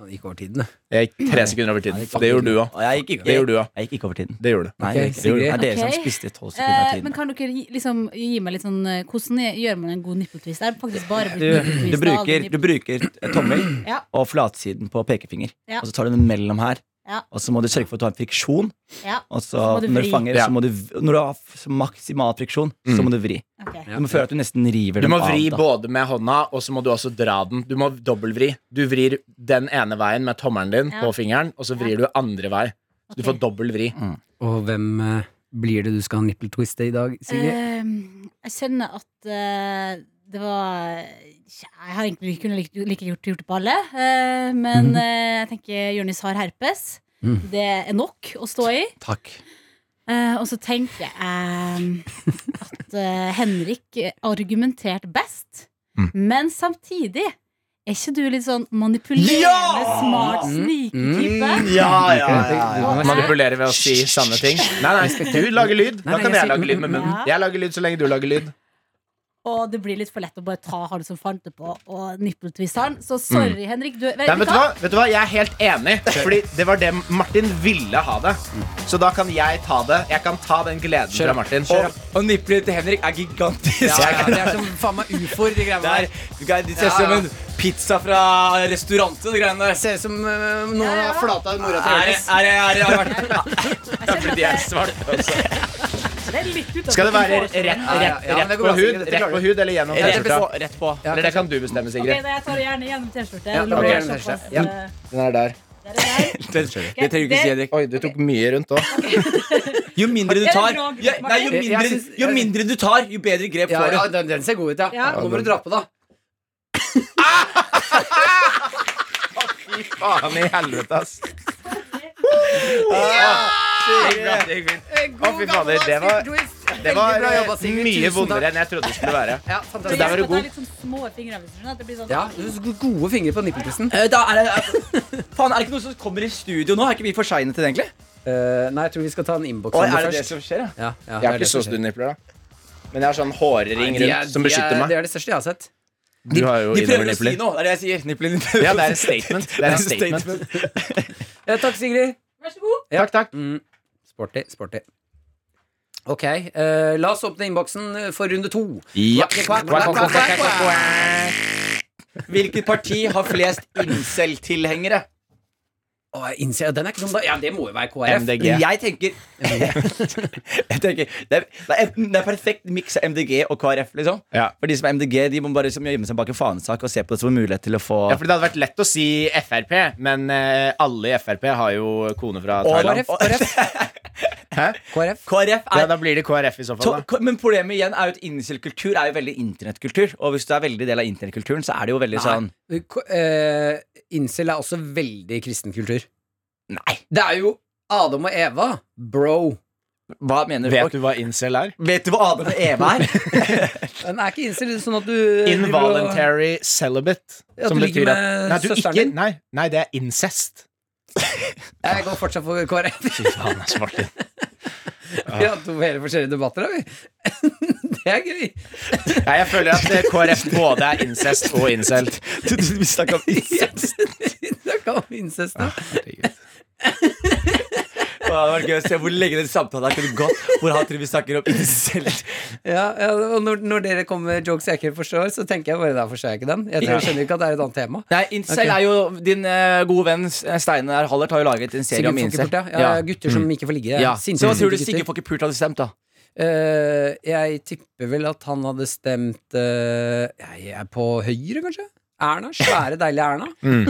S3: Ja, Det gikk over tiden, det.
S4: Jeg gikk tre sekunder over
S3: Nei,
S4: tiden.
S3: det kan
S4: Det gjorde
S3: ikke.
S4: du òg.
S2: Og jeg gikk ikke,
S4: Det gjorde du òg.
S2: jeg gikk ikke over tiden.
S4: Det gjorde du.
S2: Nei,
S3: Ok,
S2: jeg gikk ikke over tiden. det er
S3: Sigrid.
S2: dere
S6: Ok.
S2: som spiste tolv sekunder av
S6: Eh, men
S2: tiden.
S6: kan dere gi- liksom gi meg litt sånn eh, Hvordan gjør man en god nippeltvist? Jeg har faktisk bare blitt
S2: Du, du,
S6: nippeltvist av alle
S2: bruker, du
S6: nippel-
S2: bruker tommel
S6: Ja.
S2: og flatsiden på pekefinger. Og
S6: Ja.
S2: så tar du den mellom her,
S6: Ja.
S2: og så må du sørge for at du har en friksjon.
S6: Ja,
S2: Og så,
S6: Så må du
S2: når
S6: vri.
S2: du fanger,
S4: Ja.
S2: så må du, når du har f- maksimal friksjon, så må du vri.
S6: ok.
S3: Ja.
S2: Du må føle at Mm. du nesten river
S4: Du
S2: dem
S4: må
S2: av.
S4: vri
S2: da.
S4: både med hånda, og så må du også dra den. Du må dobbeltvri. Du vrir den ene veien med tommelen din
S6: Ja.
S4: på fingeren, og så vrir du andre vei. Så du
S6: Ok.
S4: får dobbel vri.
S3: Og hvem eh, blir det du skal ha nipple twiste i dag, Sigrid?
S6: Ehm, jeg kjenner at eh, det var Jeg har egentlig kunne like, like gjort, gjort det på alle, eh, men
S3: Mhm.
S6: eh, jeg tenker Jonis har herpes.
S3: Mhm.
S6: Det er nok å stå i.
S2: Takk.
S6: Eh, og så tenker jeg ehm, at eh, Henrik argumenterte best,
S4: Mm.
S6: men samtidig er ikke du litt sånn manipulerende,
S2: Ja!
S6: smart,
S3: Mm,
S6: sniketype?
S2: Ja, ja,
S3: ja, ja.
S4: Manipulere ved å si sanne ting. Nei, nei, du lager lyd. Da
S3: Nei, nei,
S4: kan
S3: jeg
S4: jeg
S3: sier-
S4: lage lyd med munnen.
S6: Ja.
S4: Jeg lager lyd så lenge du lager lyd.
S6: Og det blir litt for lett å bare ta han som fant det på, og nippeltviste han. Så sorry, Henrik. Du,
S4: Nei, vet du hva? Vet du hva? Jeg er helt enig, Fordi det var det Martin ville ha det. Så da kan jeg ta det. Jeg kan ta den gleden
S3: Kjør,
S4: fra Martin.
S3: kjør.
S4: Og-
S2: Og, og nippelet til Henrik er gigantisk.
S3: Ja, ja, det er som faen meg ufoer, de greiene
S2: Det er,
S3: der.
S2: du kan- det ser ut som
S3: Ja, ja.
S2: en pizza fra restauranten, de greiene der.
S3: Ser ut som eh, noen har flata ut mora til
S2: Er det,
S3: Jonis.
S2: er det, er det, er det.
S4: Fordi jeg er svart også.
S6: Det er litt utenfor
S4: Skal det være rett,
S3: Ja, ja,
S4: rett,
S3: ja, men
S4: rett
S3: det går
S4: på
S3: bra,
S4: hud?
S3: Sigrid, dette
S4: Rett
S3: klarer
S4: på hud eller gjennom
S2: Rett på.
S4: T-skjorta?
S2: Rett på.
S3: Ja,
S4: Eller det kan du bestemme,
S6: Ok,
S4: Sigrid.
S6: da, jeg tar det gjerne gjennom T-skjorte.
S3: Ja, da
S6: Lå
S3: blir det
S6: jeg
S3: gjennom
S6: såpass,
S3: T-skjorte. Ja.
S6: eh,
S4: Den er der.
S6: der er jeg.
S2: Det det trenger du ikke si, Henrik.
S4: Oi, du tok mye rundt òg.
S2: Jo mindre du
S6: Er det
S2: tar,
S6: bra,
S2: ja, nei, jo,
S3: Martin? Jeg
S2: mindre,
S3: synes-
S2: jo mindre du tar, jo bedre grep
S3: Ja,
S2: får du.
S3: ja, den, den ser god ut, ja.
S6: Ja.
S3: Nå må du dra på, da.
S4: Faen i helvete, ass. Ah, Å, fy fader, det var- Det var
S3: bra jobba,
S4: eh,
S3: Sigrid.
S4: mye
S3: Tusen
S4: vondere
S3: takk.
S4: enn jeg trodde det skulle være.
S3: Ja,
S4: Så
S6: Jeg
S4: der
S3: fantastisk.
S4: var
S6: skal
S4: du
S6: ta
S4: god.
S6: litt sånn små fingre. hvis du skjønner, at det blir sånn-
S3: Ja, gode fingre på nippeltissen.
S2: Eh, Da er det, er- faen, er det ikke noen som kommer i studio nå? Er ikke vi for seine til det, egentlig?
S3: Eh, nei, jeg tror vi skal ta en innboks
S2: Oi,
S3: om
S2: er det det
S3: først.
S2: som skjer, ja?
S3: Ja, ja,
S4: Jeg
S3: det er
S4: har
S3: det
S4: ikke
S3: som
S4: så
S3: skjer.
S4: store nipler, da. Men jeg har sånn hårring
S3: De er-
S4: rundt som
S3: de er-
S4: beskytter meg.
S3: Det er det største jeg har sett.
S4: Du har jo
S2: de prøver å si
S4: innovernipler.
S2: noe! Det er det jeg sier. Nippelen din
S4: Ja, det er en statement. Det er en statement.
S3: Ja, takk, Sigrid.
S6: Vær så god.
S4: Takk, takk.
S3: Mm. Sporty. Sporty. Ok, eh, la oss åpne innboksen for runde to.
S4: Ja.
S3: Quack, quack, quack, quack, quack, quack.
S2: Hvilket parti har flest incel-tilhengere?
S3: Å, jeg innser at den er ikke dum, da. Ja, det må jo være KrF.
S4: MDG.
S2: Jeg tenker, jeg tenker det, er, det er enten- det er perfekt miks av MDG og KrF. liksom
S4: Ja.
S2: For de som er MDG, de må bare liksom gjemme seg bak en fanesak og se på det som en mulighet til å få
S4: Ja, for Det hadde vært lett å si Frp, men eh, alle i Frp har jo kone fra
S2: Og-
S3: KrF,
S4: Thailand.
S3: KrF.
S4: Hæ?
S3: KrF.
S2: KrF
S4: Ja,
S2: er
S4: Da blir det KrF i så
S2: to,
S4: fall. da
S2: ko- Men problemet igjen er jo at incel-kultur er jo veldig internettkultur. Og hvis du er veldig del av internettkulturen, så er det jo veldig sånn
S3: Nei, k- eh, incel er også veldig kristen kultur.
S2: Nei!
S3: Det er jo Adam og Eva, bro.
S2: Hva mener
S4: Vet
S2: du?
S4: du hva incel er?
S2: Vet du hva Adam og Eva er?
S3: Den er ikke incel, sånn at du
S4: Involuntary celibate.
S3: Ja,
S4: som
S3: du ligger
S4: betyr at
S3: med
S4: nei, du
S3: søsteren
S4: ikke,
S3: din.
S4: nei, nei, det er incest.
S3: Jeg går fortsatt for KrF.
S4: Fy faen, ass, Martin.
S3: Vi har to helt forskjellige debatter, da, vi. Det er gøy.
S4: Nei, jeg føler at eh, KrF både er incest og incel.
S2: Vi snakker om
S3: Da kan vi incest, da.
S2: Det hadde vært gøy å se hvor lenge den samtalen her kunne gått. Hvor han tror vi snakker om incel.
S3: Ja, ja, og når, når dere kommer med jokes jeg ikke forstår, så tenker jeg bare der forstår jeg ikke den. Jeg tror jeg skjønner ikke at det er et annet tema.
S2: Nei, incel
S3: Ok.
S2: er jo Din eh, gode venn eh, Steinar Hallert har jo laget en serie
S3: Sigurd
S2: om
S3: får ikke
S2: incel.
S3: pult, ja. ja. Gutter som ikke får ligge.
S2: Mm. Ja.
S3: Sinte
S2: Så hva tror du
S3: gutter.
S2: Sigurd får ikke pult hadde stemt, da?
S3: Eh, jeg tipper vel at han hadde stemt eh, Jeg er på høyre, kanskje? Erna. Svære, deilige Erna.
S2: Mm.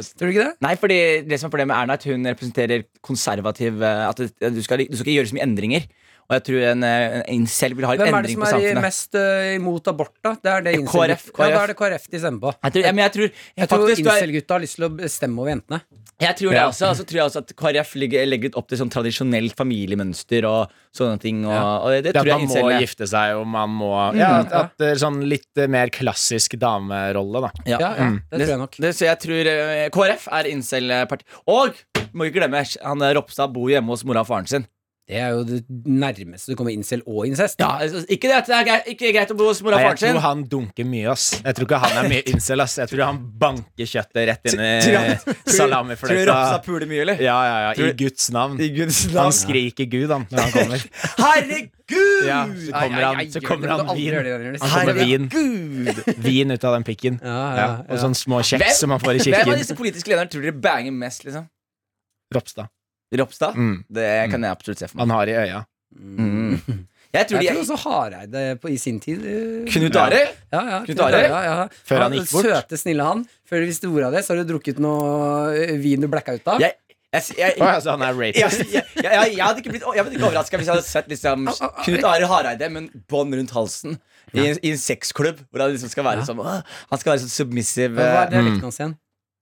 S3: Tror du ikke det?
S2: Nei, fordi det som er problemet med Erna, er at hun representerer konservativ eh, At det- du skal, du skal ikke gjøre så mye endringer. Og jeg tror en, eh, en incel vil ha en
S3: Hvem er det
S2: endring
S3: som
S2: på
S3: er i-
S2: samfunnet.
S3: mest eh, imot abort, da? Det er det
S2: Ja,
S3: incel-
S2: KrF,
S3: Ja, da
S2: KrF.
S3: er det KrF de stemmer på.
S2: Jeg tror, ja, men jeg tror,
S3: Jeg tror
S2: faktisk, du er-
S3: incel-gutta har lyst til å bestemme over jentene.
S2: Jeg tror det
S4: Ja.
S2: også. Og så tror jeg også at KrF ligger, legger litt opp til sånn tradisjonelt familiemønster og sånne ting. Og,
S3: Ja.
S2: og det, det
S4: At
S2: tror jeg
S4: man må
S2: incel
S4: gifte seg, og man må Ja, at, at det er sånn litt eh, mer klassisk damerolle, da.
S3: Ja, ja,
S4: Mm.
S3: det tror jeg nok.
S2: Det, så jeg tror eh, KrF er incel-parti. Og må ikke glemme, han eh, Ropstad bor hjemme hos mora og faren sin.
S3: Det er jo det nærmeste du kommer incel og incest.
S2: Ja, altså, ikke det at det er greit, ikke greit å bo hos mora
S4: Nei,
S2: og
S4: jeg
S2: faren sin.
S4: tror han dunker mye, ass. Jeg tror ikke han er mye incel, ass. Jeg tror han banker kjøttet rett inn i
S2: Tror du Ropstad
S4: salamifløyta.
S2: puler mye, eller?
S4: Ja, ja, ja. I
S2: Tror-
S4: Guds navn.
S2: I Guds
S4: Han
S2: navn.
S4: skriker Gud, han, når han kommer.
S2: Herregud!
S4: Ja, så kommer han, så kommer han vin. Så kommer
S3: Herregud.
S4: vin. Vin ut av den pikken.
S3: Ja, ja,
S4: Ja,
S3: ja.
S4: og sånn- sånne små
S2: Hvem-
S4: kjeks som man får i
S2: Hvem av
S4: kirken.
S2: disse politiske lederne tror dere banger mest? liksom?
S4: Ropstad.
S2: Ropstad?
S4: Mm.
S2: Det kan jeg absolutt se for meg.
S4: Han har i øya.
S2: Mm. Jeg tror
S3: Jeg
S2: de
S3: tror også Hareide på, i sin tid eh,
S2: Knut Arild?
S3: ja, ja,
S2: Knut Are?
S3: Ja, ja.
S4: Før han gikk bort.
S3: Søte, snille han. Før du visste ordet av det, så har du drukket noe eh, vin du blacka ut av.
S2: Jeg, jeg, jeg,
S4: Å, altså, han er
S2: jeg,
S4: rapist.
S2: jeg, jeg, jeg, hadde ikke blitt jeg hadde ikke overraska hvis jeg hadde sett liksom, Knut Arild Hareide med en bånd rundt halsen i en, i en sexklubb. Hvor han liksom skal være sånn «Åh, Han skal være sånn submissive
S3: Hva er
S2: eh,
S4: Mm.
S3: dialekten hans igjen?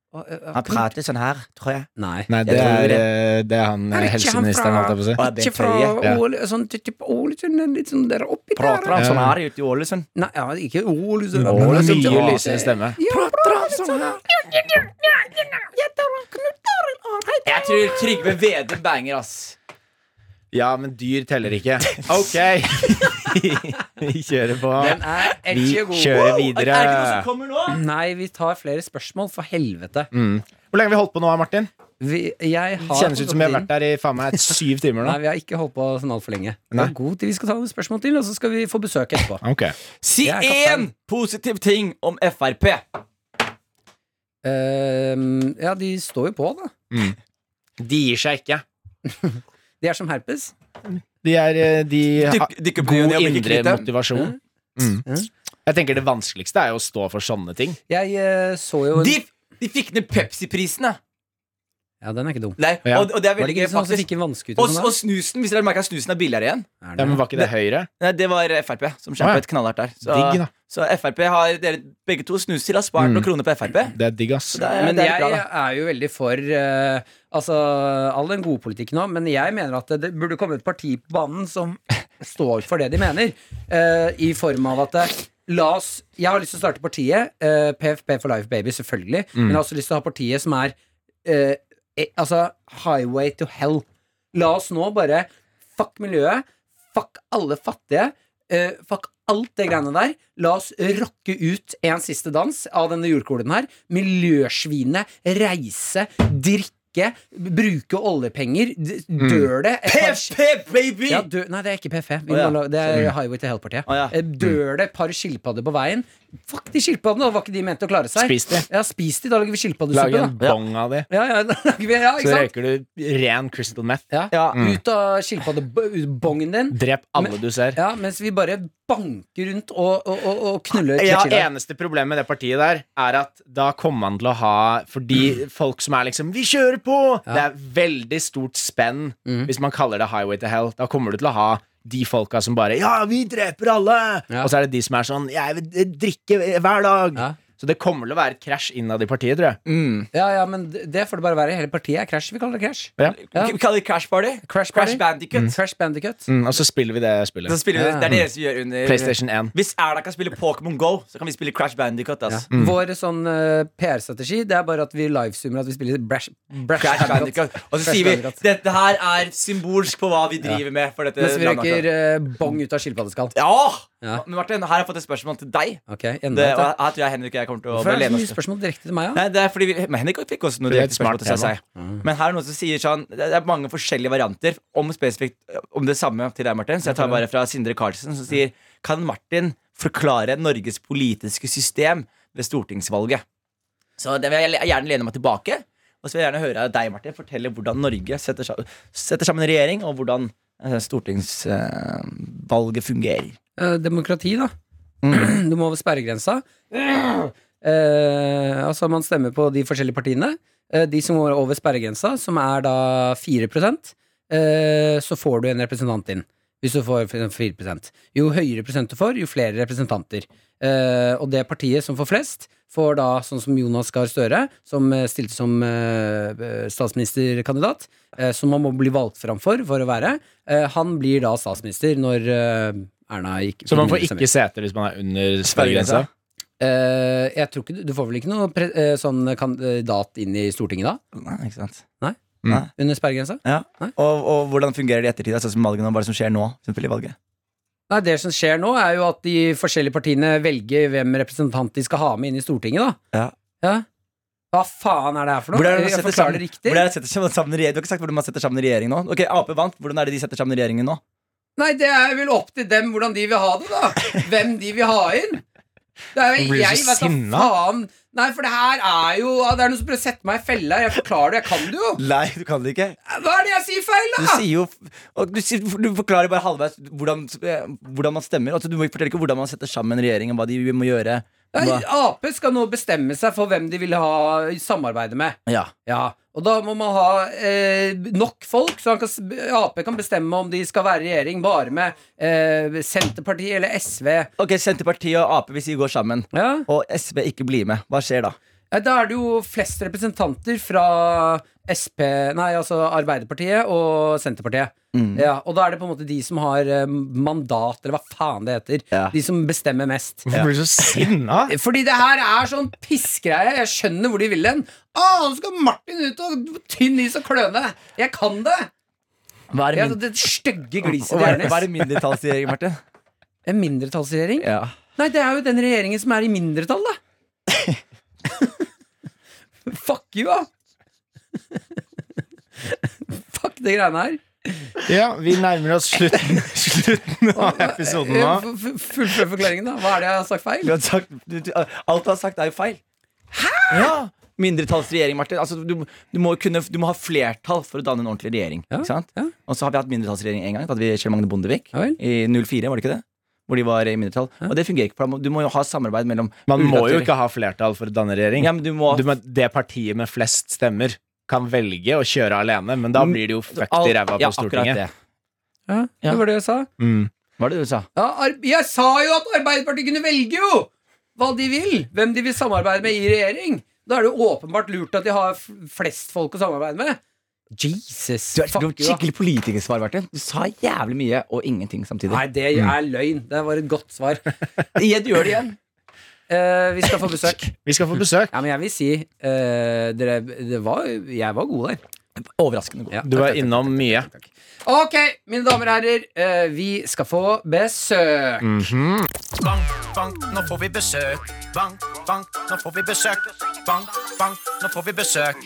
S3: Å, eh,
S2: Han prater sånn her, tror jeg.
S3: Nei.
S4: Nei, det
S2: Jeg tror
S4: er,
S2: det.
S4: eh, det er han eh,
S3: Er ikke han
S4: helseministeren,
S3: fra-
S4: holdt jeg på å si.
S2: Og det
S3: Ikke fra
S2: tøyet.
S4: ja.
S3: Åle, sånn ty- typ Ålesund, litt sånn der oppi
S2: Prater
S3: der.
S2: han
S4: Ja.
S2: sånn her ute i Ålesund?
S3: Nei, ja, ikke Ålesund.
S4: Å, det er
S3: liksom, Ja,
S4: mye lysere stemme.
S3: Prater han sånn her?
S2: Jeg tror Trygve Vedum banger, ass.
S4: Ja, men dyr teller ikke. Ok! Vi kjører på.
S3: Den er
S4: Vi
S3: ikke god.
S4: kjører
S2: Er det ikke noe som
S4: videre.
S2: kommer nå?
S3: Nei, vi tar flere spørsmål, for helvete.
S4: Hvor lenge har vi holdt på nå, Martin?
S3: Vi, jeg har
S4: Kjennes ut som Mm. vi har vært der i faen meg syv timer nå.
S3: Nei, vi har ikke holdt på sånn altfor lenge. Det
S4: Nei.
S3: er god tid. Vi skal ta noen spørsmål til, og så skal vi få besøk etterpå.
S4: Ok.
S2: Si
S3: Jeg er kaptein.
S2: én positiv ting om Frp.
S3: Ehm, ja, de står jo på, da.
S4: De gir seg ikke.
S3: De er som herpes.
S4: De, er, eh, de
S3: ah,
S4: har
S2: Dyk- dykker på de
S4: god
S2: og blir ikke
S4: indre
S2: kvitt dem.
S4: motivasjon. Mm. Jeg tenker Det vanskeligste er jo å stå for sånne ting.
S3: Jeg eh, så jo en-
S2: De, de fikk ned Pepsi-prisene.
S3: Ja, den er ikke dum.
S2: Nei,
S4: Ja.
S2: og, og det er
S3: Var det
S2: veldig gøy,
S3: ikke sånn som
S2: faktisk.
S3: fikk en vannskuter?
S2: Og,
S3: og sånn,
S2: og snusen, hvis dere merka at snusen er billigere igjen.
S3: da? Er
S4: Ja,
S3: det-
S4: men Var ikke det Høyre?
S2: Nei, det var Frp som
S4: Å, ja.
S2: kjempet knallhardt der. Så,
S4: Digg, da.
S2: så Frp har dere begge to snuser har spart
S4: Mm.
S2: noen kroner på Frp.
S4: Det er digg, ass.
S2: Så det er,
S3: Men
S2: det er litt
S3: jeg
S2: bra, da.
S3: er jo veldig for eh, altså, all den gode politikken nå, men jeg mener at det, det burde komme et parti på banen som står for det de mener, eh, i form av at eh, La oss, Jeg har lyst til å starte partiet, eh, PFP for Life Baby, selvfølgelig, men jeg har også lyst til å ha partiet som er eh, eh, altså Highway to Hell. La oss nå bare Fuck miljøet. Fuck alle fattige. eh, fuck alt det greiene der. La oss rocke ut en siste dans av denne jordkloden her. Miljøsvinet. Reise. Drikke. Bruke oljepenger. d- Dør det et par-
S2: PP, baby!
S3: ja, dø, nei, det er ikke PF. Vi
S2: Å, ja.
S3: må la- Det er Highway til Hell-partiet.
S2: Å, ja.
S3: Eh, Dør det et par skilpadder på veien? Fuck de skilpaddene, da var ikke de ment å klare seg.
S4: Spis de.
S3: Ja, spis de, da lager vi
S4: Lage
S3: skilpaddesuppe.
S4: en
S3: da.
S4: bong av de.
S3: Ja, ja, da lager vi, ja, ikke
S4: Så
S3: sant?
S4: røyker du ren crystal meth.
S3: Ja.
S2: Ja.
S3: Ut av skilpaddebongen din.
S4: Drep alle
S3: Men-
S4: du ser.
S3: Ja, mens vi bare banker rundt og, og, og, og knuller
S4: Eh, Ja,
S3: chilla.
S4: Eneste problemet med det partiet der er at da kommer man til å ha Fordi folk som er liksom 'Vi kjører på!'
S3: Ja.
S4: Det er veldig stort spenn
S3: Mm.
S4: hvis man kaller det 'highway to hell'. Da kommer du til å ha de folka som bare 'Ja, vi dreper alle!'
S3: Ja.
S4: Og så er det de som er sånn 'Jeg vil drikke eh, hver dag'.
S3: Ja.
S4: Så det kommer til å være et krasj innad i partiet, tror jeg.
S2: Mm.
S3: Ja, ja, men det det får det bare være. Hele partiet er Crash. Vi kaller det Crash.
S4: Ja.
S3: Ja.
S2: Vi kaller det Crash Party.
S3: Crash Party.
S2: Crash Bandicut.
S3: Crash Bandicut.
S4: Mm, og så spiller vi det
S2: Så
S4: spillet.
S2: spiller vi,
S3: Ja.
S2: det er det eneste vi gjør under
S4: PlayStation 1.
S2: Hvis Erna kan spille Pokémon Go, så kan vi spille Crash Bandicut.
S3: Ja.
S2: ass.
S3: Vår sånn eh, PR-strategi Det er bare at vi livesummer at vi spiller Brash, brash
S2: Crash
S3: Bandicoot.
S2: Bandicut. Og så
S3: Crash
S2: sier vi
S3: Bandicoot.
S2: dette her er symbolsk på hva vi driver med. For dette
S3: Mens vi
S2: landet.
S3: røyker eh, bong ut av skilpaddeskall.
S2: Ja!
S3: Ja.
S2: Men Martin, her har jeg fått et spørsmål til deg.
S3: Ok, enda
S2: Det,
S3: et,
S2: og
S3: da.
S2: her tror jeg Henrik og jeg kommer til å
S3: Hvorfor er det så
S2: lene
S3: mye
S2: oss.
S3: spørsmål direkte til meg? Ja?
S2: Nei, det er fordi vi, men Henrik fikk også noe
S4: Det er et
S2: direkte spørsmål til
S4: smart
S2: seg. Men her er noen som sier sånn Det er mange forskjellige varianter om spesifikt Om det samme til deg, Martin. Så jeg tar bare fra Sindre Karlsen, som sier Kan Martin forklare Norges politiske system ved stortingsvalget? Så det vil jeg gjerne lene meg tilbake. Og så vil jeg gjerne høre deg, Martin, fortelle hvordan Norge setter, sa- setter sammen en regjering, og hvordan stortingsvalget fungerer.
S3: Eh, demokrati, da. Mm. Du må over sperregrensa. Eh, altså, man stemmer på de forskjellige partiene. Eh, de som går over sperregrensa, som er da 4 eh, så får du en representant inn. Hvis du får f- 4 Jo høyere prosent du får, jo flere representanter. Eh, og det partiet som får flest, får da sånn som Jonas Gahr Støre, som eh, stilte som eh, statsministerkandidat, eh, som han må bli valgt fram for for å være. Eh, han blir da statsminister når eh, Erna gikk
S4: Så man får
S3: stemmer.
S4: ikke seter hvis man er under sperregrensa.
S3: Eh, jeg tror ikke du, du får vel ikke noe pre, eh, sånn kandidat inn i Stortinget da?
S2: Nei, ikke sant?
S3: Under sperregrensa?
S2: Ja.
S3: Nei.
S2: Og, og hvordan fungerer det i ettertid? Altså, som valgene, og hva er det som skjer nå? for eksempel i valget?
S3: Nei, det som skjer nå, er jo at de forskjellige partiene velger hvem representant de skal ha med inn i Stortinget, da.
S2: Ja.
S3: Hva faen er det her for noe?
S2: Hvordan er det man
S3: jeg
S2: setter
S3: forklarer
S2: sammen-
S3: det riktig.
S2: Hvordan er det setter sammen, sammen, regjering? du har ikke sagt hvordan man setter sammen regjering nå. Ok, Ap vant. Hvordan er det de setter sammen regjeringen nå?
S3: Nei, det er vel opp til dem hvordan de vil ha det, da. Hvem de vil ha inn. Det er
S4: Du
S3: jo
S4: blir
S3: jeg,
S4: så
S3: vet da
S4: sinna.
S3: faen. Nei, for det her er jo Det er noen som prøver å sette meg i fella. Jeg forklarer det, jeg kan det jo.
S2: Nei, du kan det ikke.
S3: Hva er det jeg sier feil,
S2: Du
S3: da?
S2: sier jo og du, sier, du forklarer bare halvveis hvordan, eh, hvordan man stemmer. Altså, du må ikke fortelle ikke hvordan man setter sammen regjering, og hva de må gjøre.
S3: Nei,
S2: Hva-
S3: Ap skal nå bestemme seg for hvem de vil ha samarbeide med.
S2: Ja.
S3: Ja, og da må man ha eh, nok folk, så han kan, s- Ap kan bestemme om de skal være i regjering bare med eh, Senterpartiet eller SV.
S2: Ok, Senterpartiet og Ap, hvis de går sammen,
S3: Ja.
S2: og SV ikke blir med, hva skjer da?
S3: Ja, Da er det jo flest representanter fra SP, nei, altså Arbeiderpartiet og Senterpartiet.
S2: Mm.
S3: Ja, og da er det på en måte de som har eh, mandat, eller hva faen det heter.
S2: Ja.
S3: De som bestemmer mest.
S4: Hvorfor blir du så sinna?
S3: Fordi det her er sånn pissgreie. Jeg skjønner hvor de vil hen. Ah, nå skal Martin ut og tynn is og kløne. Jeg kan det!
S2: Hva er
S3: Jeg,
S2: min-
S3: det stygge gliset
S2: hva
S3: i
S2: er, hva er
S3: hjernen.
S2: det mindretallsregjering, Martin?
S3: En mindretallsregjering?
S2: Ja.
S3: Nei, det er jo den regjeringen som er i mindretall, da. Fuck you, da. Fuck de greiene her.
S4: Ja, vi nærmer oss slutten, slutten av episoden
S2: eh,
S4: nå.
S3: Eh, F- f- Fullfør forklaringen, da. Hva er det jeg har sagt
S2: Du
S3: feil?
S2: har sagt, du, du, alt du har sagt, er jo feil. Hæ?! Ja. Mindretallsregjering, Martin. Altså, du, du, må kunne, du må ha flertall for å danne en ordentlig regjering.
S3: Ja,
S2: Ikke sant?
S3: ja.
S2: Og så har vi hatt mindretallsregjering én gang. Da hadde vi Kjell Magne Bondevik
S3: Ja vel.
S2: i 04, var det ikke det? Hvor de var i mindretall. Og det fungerer ikke. for da må- Du må jo ha samarbeid mellom
S4: Man
S2: ulike
S4: må jo
S2: aktører.
S4: ikke ha flertall for å danne regjering.
S2: ja, men du må,
S4: du, må- det partiet med flest stemmer kan velge å kjøre alene, men da blir det jo fucked i ræva
S2: Mm. Ja,
S4: på
S2: akkurat
S4: Stortinget.
S2: det.
S3: Ja, det var det jeg sa.
S4: Mm.
S2: Hva er det du sa?
S3: Ja, ar jeg sa jo at Arbeiderpartiet kunne velge jo hva de vil, hvem de vil samarbeide med i regjering. Da er det jo åpenbart lurt at de har f- flest folk å samarbeide med. Jesus,
S2: Du er, du
S3: fuck
S2: er
S3: you, da.
S2: skikkelig politikersvar, Martin. Du sa jævlig mye og ingenting samtidig.
S3: Nei, det er
S7: Mm.
S3: løgn. Det var et godt svar.
S2: Igjen, du gjør det igjen.
S3: Eh, vi skal få besøk.
S4: Vi skal få besøk.
S3: Ja, men jeg vil si eh, dere, det var, Jeg var god der.
S8: Overraskende god.
S3: Ja,
S7: Du
S3: takk,
S7: var
S3: takk,
S7: innom mye.
S3: Ok, mine damer og herrer, eh, vi skal få besøk.
S7: Mm,
S4: Bank, bank, nå får vi besøk. Bank, bank, nå får vi besøk. Bank, bank, nå får vi besøk.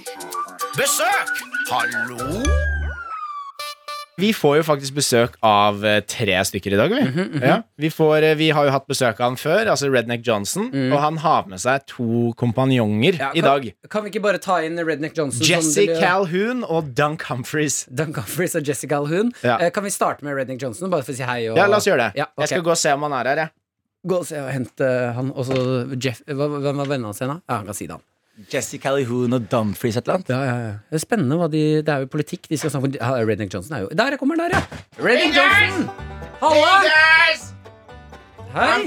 S4: Besøk! Hallo?
S7: Vi får jo faktisk besøk av eh, tre stykker i dag. Vi,
S3: Mhm,
S7: ja. vi, får, eh, vi har jo hatt besøk av han før, altså Redneck Johnson. Og han har med seg to kompanjonger
S3: Mhm. Ja,
S7: i
S3: kan,
S7: dag.
S3: kan vi ikke bare ta inn Redneck Johnson? som
S7: Jesse
S3: det-
S7: Calhoun og Dunk Humphries.
S3: Duncan Humphries og Jessica Calhoun.
S7: Ja.
S3: Eh, Kan vi starte med Redneck Johnson? Bare for å si hei og
S7: Ja, la oss gjøre det.
S3: Ja, ok.
S7: Jeg skal gå og se om han er her. Jeg.
S3: Gå og se og hente han Og så Jeff hva- Hvem var vennene hans igjen, da? Ja, han kan si det, han.
S8: Jesse Calhoun og Dumfries et eller annet.
S3: Ja, ja, ja. Det er spennende hva de Det er jo politikk de skal snakke om. Ja, Redneck Johnson er jo Der kommer han der, ja! Redneck Johnson!
S4: Hey
S3: Halla!
S4: guys! I'm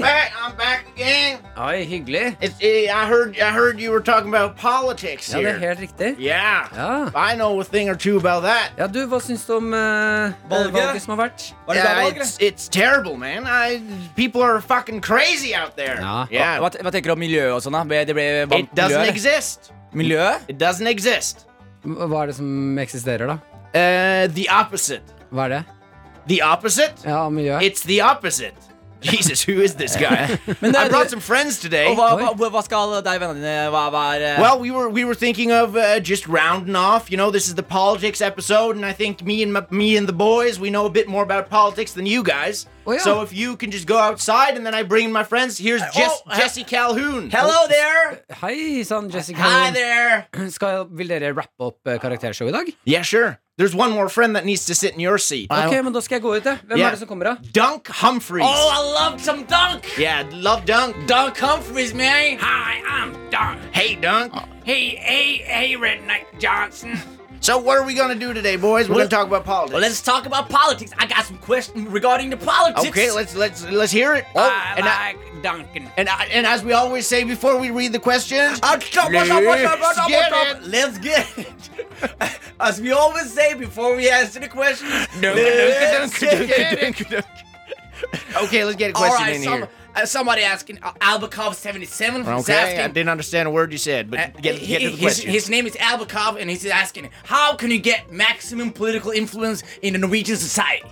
S3: Hei!
S4: back, I'm back again.
S3: Oi, hyggelig.
S4: It's, eh, I heard, I heard you were talking about politics
S3: Ja, det er
S4: here.
S3: helt riktig.
S4: Yeah.
S3: Ja.
S4: I know a thing or two about that.
S3: Ja, du, hva syns du om eh,
S8: Valget?
S3: valget som har vært?
S8: Var det bra
S4: Yeah,
S8: valg, eller?
S4: it's, it's terrible, man. I, people are fucking crazy out there.
S3: Ja.
S4: Yeah.
S8: Hva, hva tenker du om miljøet og sånn? da? Ble- Det ble
S4: It
S8: varmt miljø,
S4: doesn't
S8: eller?
S4: exist.
S8: Miljøet?
S4: It doesn't exist.
S3: Hva er det som eksisterer, da?
S4: Uh, the opposite.
S3: Hva er det?
S4: The opposite?
S3: Ja, miljøet?
S4: It's the opposite. Jesus, who is this guy?
S8: Men det-
S4: I brought some friends today.
S8: Og hva, hva, hva skal deg og vennene dine hva, hva er eh,
S4: Well, we were we were thinking of uh, just rounding off. You know, this is the politics episode, and I think me and my, me and the boys we know a bit more about politics than you guys.
S3: Oh, yeah.
S4: So if you can just go outside, and then I bring in my friends. Here's Jess,
S8: oh, he-
S4: Jesse Calhoun.
S8: Hello there!
S3: Hei sann, Jessica.
S4: Hi there.
S3: Skal, vil dere rappe opp eh, karaktershow i dag?
S4: Yeah, sure. There's one more friend that needs to sit in your seat.
S3: Ok, men Da skal jeg gå ut. jeg. Hvem
S4: Yeah.
S3: er det som kommer, da?
S4: Dunk Humphreys.
S8: Oh, I love some dunk!
S4: yeah, love Dunk.
S8: Dunk Humphries, man!
S9: Hi, I'm Don.
S4: Hey, Dunk. Oh.
S9: Hey, hey, hey, Redneck Johnson.
S4: So what are we gonna do today, boys? We're
S8: Well,
S4: gonna talk about politics.
S8: Well, let's talk about politics. I got some questions regarding the politics.
S4: Okay, let's let's let's hear it. Oh,
S8: Uh,
S9: I
S4: and, I,
S9: like Duncan.
S4: and I, and as we always say before we read the questions,
S8: Ah, stop, stop, stop, stop, stop, stop,
S4: get
S8: stop.
S4: it.
S8: Let's get it. As we always say before we answer the question, let's get it.
S4: okay, let's get a
S8: All
S4: question
S8: right,
S4: in
S8: some,
S4: here.
S8: uh, somebody asking uh, Albacov seventy seven.
S4: Okay, I didn't understand a word you said, but get, get to the
S8: uh, his,
S4: question.
S8: his name is Albacov, and he's asking, "How can you get maximum political influence in the Norwegian society?"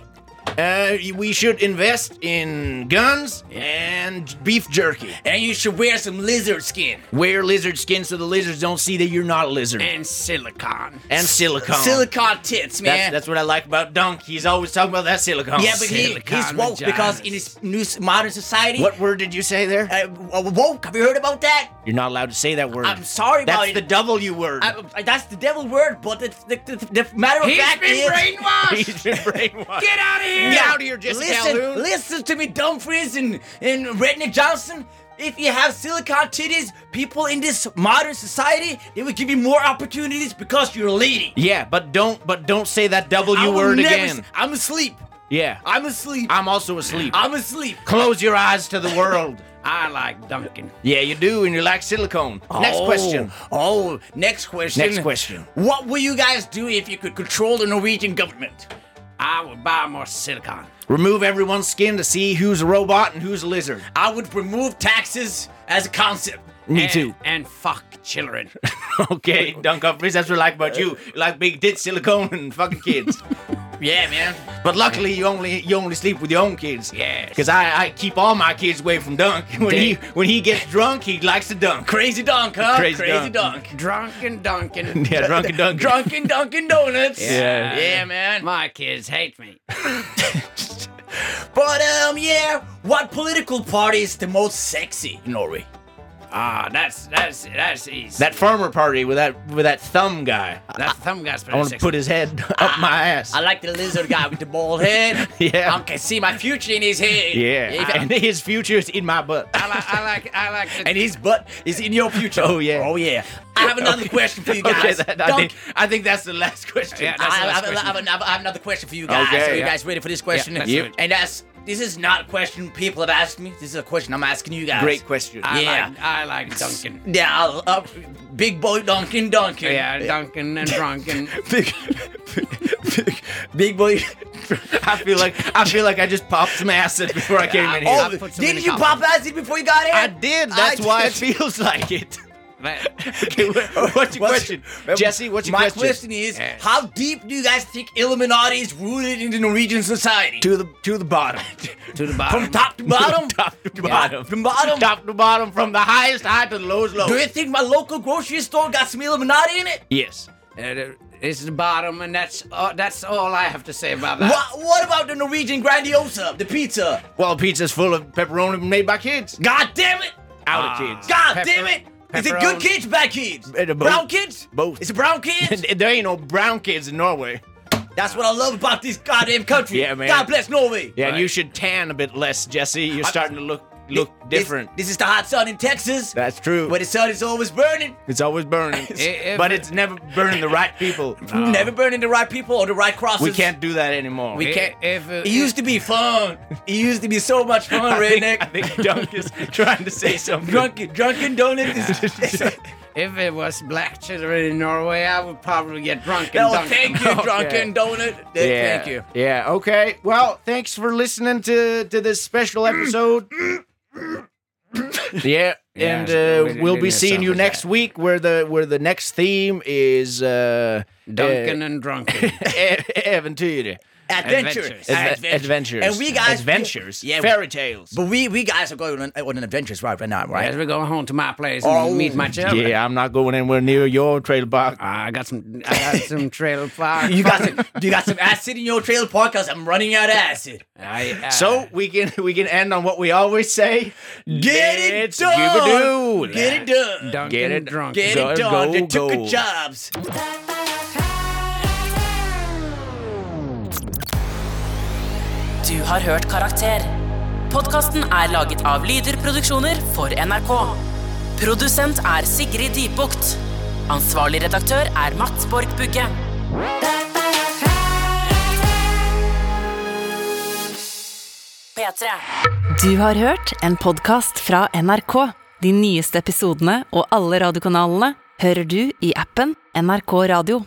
S4: Uh, we should invest in guns and beef jerky.
S8: And you should wear some lizard skin
S4: Wear lizard skin so the lizards don't see that you're not a lizard.
S9: And Silicon.
S4: And silicone.
S8: silicon tits,
S4: That's,
S8: man.
S4: that's what I like about Dunk. He's always talking about that silicone.
S8: yeah, but he,
S9: silicon
S8: he's woke
S9: vaginas.
S8: because in this new s- modern society,
S4: What word did you say there?
S8: Uh, w- woke? Have you heard about that?
S4: You're not allowed to say that word.
S8: I'm sorry about
S4: That's
S8: it.
S4: the W word.
S8: I, I- that's the devil word, but it's the, the, the matter of
S9: He's
S8: fact
S9: been
S8: is.
S9: brainwashed.
S4: He's been brainwashed.
S9: Get out of here.
S4: Get out of here, Jesse
S8: listen,
S4: Calhoun.
S8: listen to me, Dumfries and and Redneck Johnson. If you have silicon titties, people in this modern society, they will give you more opportunities because you're a lady.
S4: Yeah, but don't but don't say that W
S8: I will
S4: word
S8: never
S4: again.
S8: s- I'm asleep.
S4: yeah. I,
S8: I'm asleep.
S4: am also asleep.
S8: I'm asleep.
S4: Close your eyes to the world.
S9: I like Duncan.
S4: yeah, you do, and you lack silicone. Next
S8: Oh,
S4: question.
S8: Oh, next question.
S4: Next question.
S8: What will you guys do if you could control the Norwegian government?
S9: I will buy more Silicon.
S4: Remove everyone's skin to see who's a robot and who's a lizard.
S8: I would remove taxes as a concept.
S4: Me
S9: And- And fuck children.
S4: okay, Dunk Humphries, that's what I like about you. You like big dit silicone and fucking kids.
S9: yeah, man.
S4: but luckily, you only you only sleep with your own kids.
S9: Yes.
S4: Because I, I keep all my kids away from Dunk. When he when he gets drunk, he likes to dunk.
S8: Crazy dunk, huh?
S4: Crazy
S8: Oh, Crazy
S4: dunk.
S8: dunk.
S9: Drunken Duncan.
S4: Yeah, drunk and dunk.
S8: Drunken Dunkin' Donuts.
S4: Yeah.
S8: Yeah, man.
S9: My kids hate me.
S8: But um, yeah. What political party is the most sexy in Norway?
S9: Ah, that's that's that's easy.
S4: That farmer party with that with that thumb guy.
S9: that thumb guy's pretty
S4: I want to
S9: sexy. Ah,
S4: put his head up my ass.
S8: I like the lizard guy with the bald head.
S4: Yeah.
S8: I can see my future in his head.
S4: yeah.
S8: If-
S4: and his future is in my butt.
S9: I like I like I like the
S8: and his butt is in your future.
S4: Oh, yeah.
S8: Oh yeah. I have another question for you
S4: Okay,
S8: guys.
S4: that, I,
S8: Dunk-
S4: think, I think that's the last question.
S9: Yeah,
S8: I,
S9: that's the
S8: I,
S9: last
S8: I, I,
S9: question.
S8: have another- I have another question for you guys.
S4: Okay,
S8: Are you
S4: yeah.
S8: guys ready for this question?
S9: that's
S4: Yep. good.
S8: And that's this is not a question people have asked me. This is a question I'm asking you guys.
S4: Great question.
S9: I
S8: yeah.
S9: like I like Duncan.
S8: Yeah, I'll- uh, big boy Duncan Duncan.
S9: Yeah, Duncan and Drunken.
S4: big, big, big boy. I feel like I feel like I just popped some acid before I came in here.
S8: Oh,
S9: I put some in
S8: didn't
S9: the
S8: you
S9: column.
S8: pop acid before you got here?
S4: I did. That's
S8: I
S4: why
S8: did.
S4: it feels like it. Okay, what- what's your question? Jesse, what's your
S8: My
S4: question?
S8: question is, how deep do you guys think Illuminati is rooted into Norwegian society?
S4: To the to the bottom.
S3: to the
S8: From
S3: bottom.
S8: top to bottom?
S4: top to bottom.
S8: From bottom?
S4: top to bottom, from the highest high to the lowest low.
S8: Do you think my local grocery store got some Illuminati in it?
S4: Yes.
S3: Uh, it's the bottom, and that's
S4: uh,
S3: all, that's all I have to say about that.
S8: What, what about the Norwegian grandiosa, the pizza?
S4: Well, pizza's full of pepperoni made by kids.
S8: God damn it!
S4: Out of kids.
S8: God
S3: Pepper-
S8: damn it! Is it good
S3: pepperoni.
S8: kids, bad kids?
S4: Uh, both.
S8: Brown kids?
S4: Both.
S8: Is it brown kids?
S4: there ain't no brown kids in Norway.
S8: That's what I love about this goddamn country.
S4: Yeah, man.
S8: God bless Norway.
S4: Yeah, and you should tan a bit less, Jesse. You're starting to look look
S8: This-
S4: different.
S8: This, is the hot sun in Texas.
S4: That's true.
S8: Where the sun is always burning.
S4: it's always burning,
S3: If-
S4: but it's never burning the right people.
S8: Never burning the right people or the right crosses.
S4: Oh. We can't do that anymore.
S8: We can't.
S3: If, uh,
S8: It used to be fun. It used to be so much fun,
S4: e- I think, I
S8: redneck.
S4: think Dunk is trying to say something.
S8: Drunken, drunken donuts. is-
S3: if it was black children in Norway, I would probably get drunk and
S8: No,
S3: dunk
S8: thank
S3: them.
S8: you, drunken donut. Th-
S4: Yeah.
S8: Thank you.
S4: Yeah. Okay. Well, thanks for listening to to this special episode. yeah,
S3: so
S4: and
S3: we
S4: uh,
S3: didn't
S4: we'll be
S3: need
S4: seeing
S3: some
S4: you
S3: of
S4: next
S3: that.
S4: week, where the where the next theme is uh,
S3: Duncan and drunken.
S4: uh, e- eventury,
S3: Adventures.
S8: Adventures.
S4: Adve- adventures,
S8: And we guys
S4: adventures,
S8: Yeah,
S4: fairy tales.
S8: But we we guys are going on, on an adventurous ride right now, right?
S3: As we go home to my place
S8: Oh,
S3: and meet my children.
S4: Yeah, I'm not going anywhere near your trailer park.
S3: I got some. I got some trail fire.
S8: You got some, you got some acid in your trailer park, cause I'm running out of acid.
S3: I, uh,
S4: So we can we can end on what we always say.
S8: Get it
S4: It's
S8: done.
S4: Scooby-Doo.
S8: Get it done.
S3: Duncan
S4: Get it
S3: drunk.
S8: Get
S4: Go,
S8: it done.
S4: go,
S8: They took
S4: go.
S8: the jobs.
S6: Du har hørt Karakter. Podkasten er laget av Lyder Produksjoner for NRK. Produsent er Sigrid Dybukt. Ansvarlig redaktør er Mats Borg Bugge. P3.
S1: Du har hørt en podkast fra NRK. De nyeste episodene og alle radiokanalene hører du i appen NRK Radio.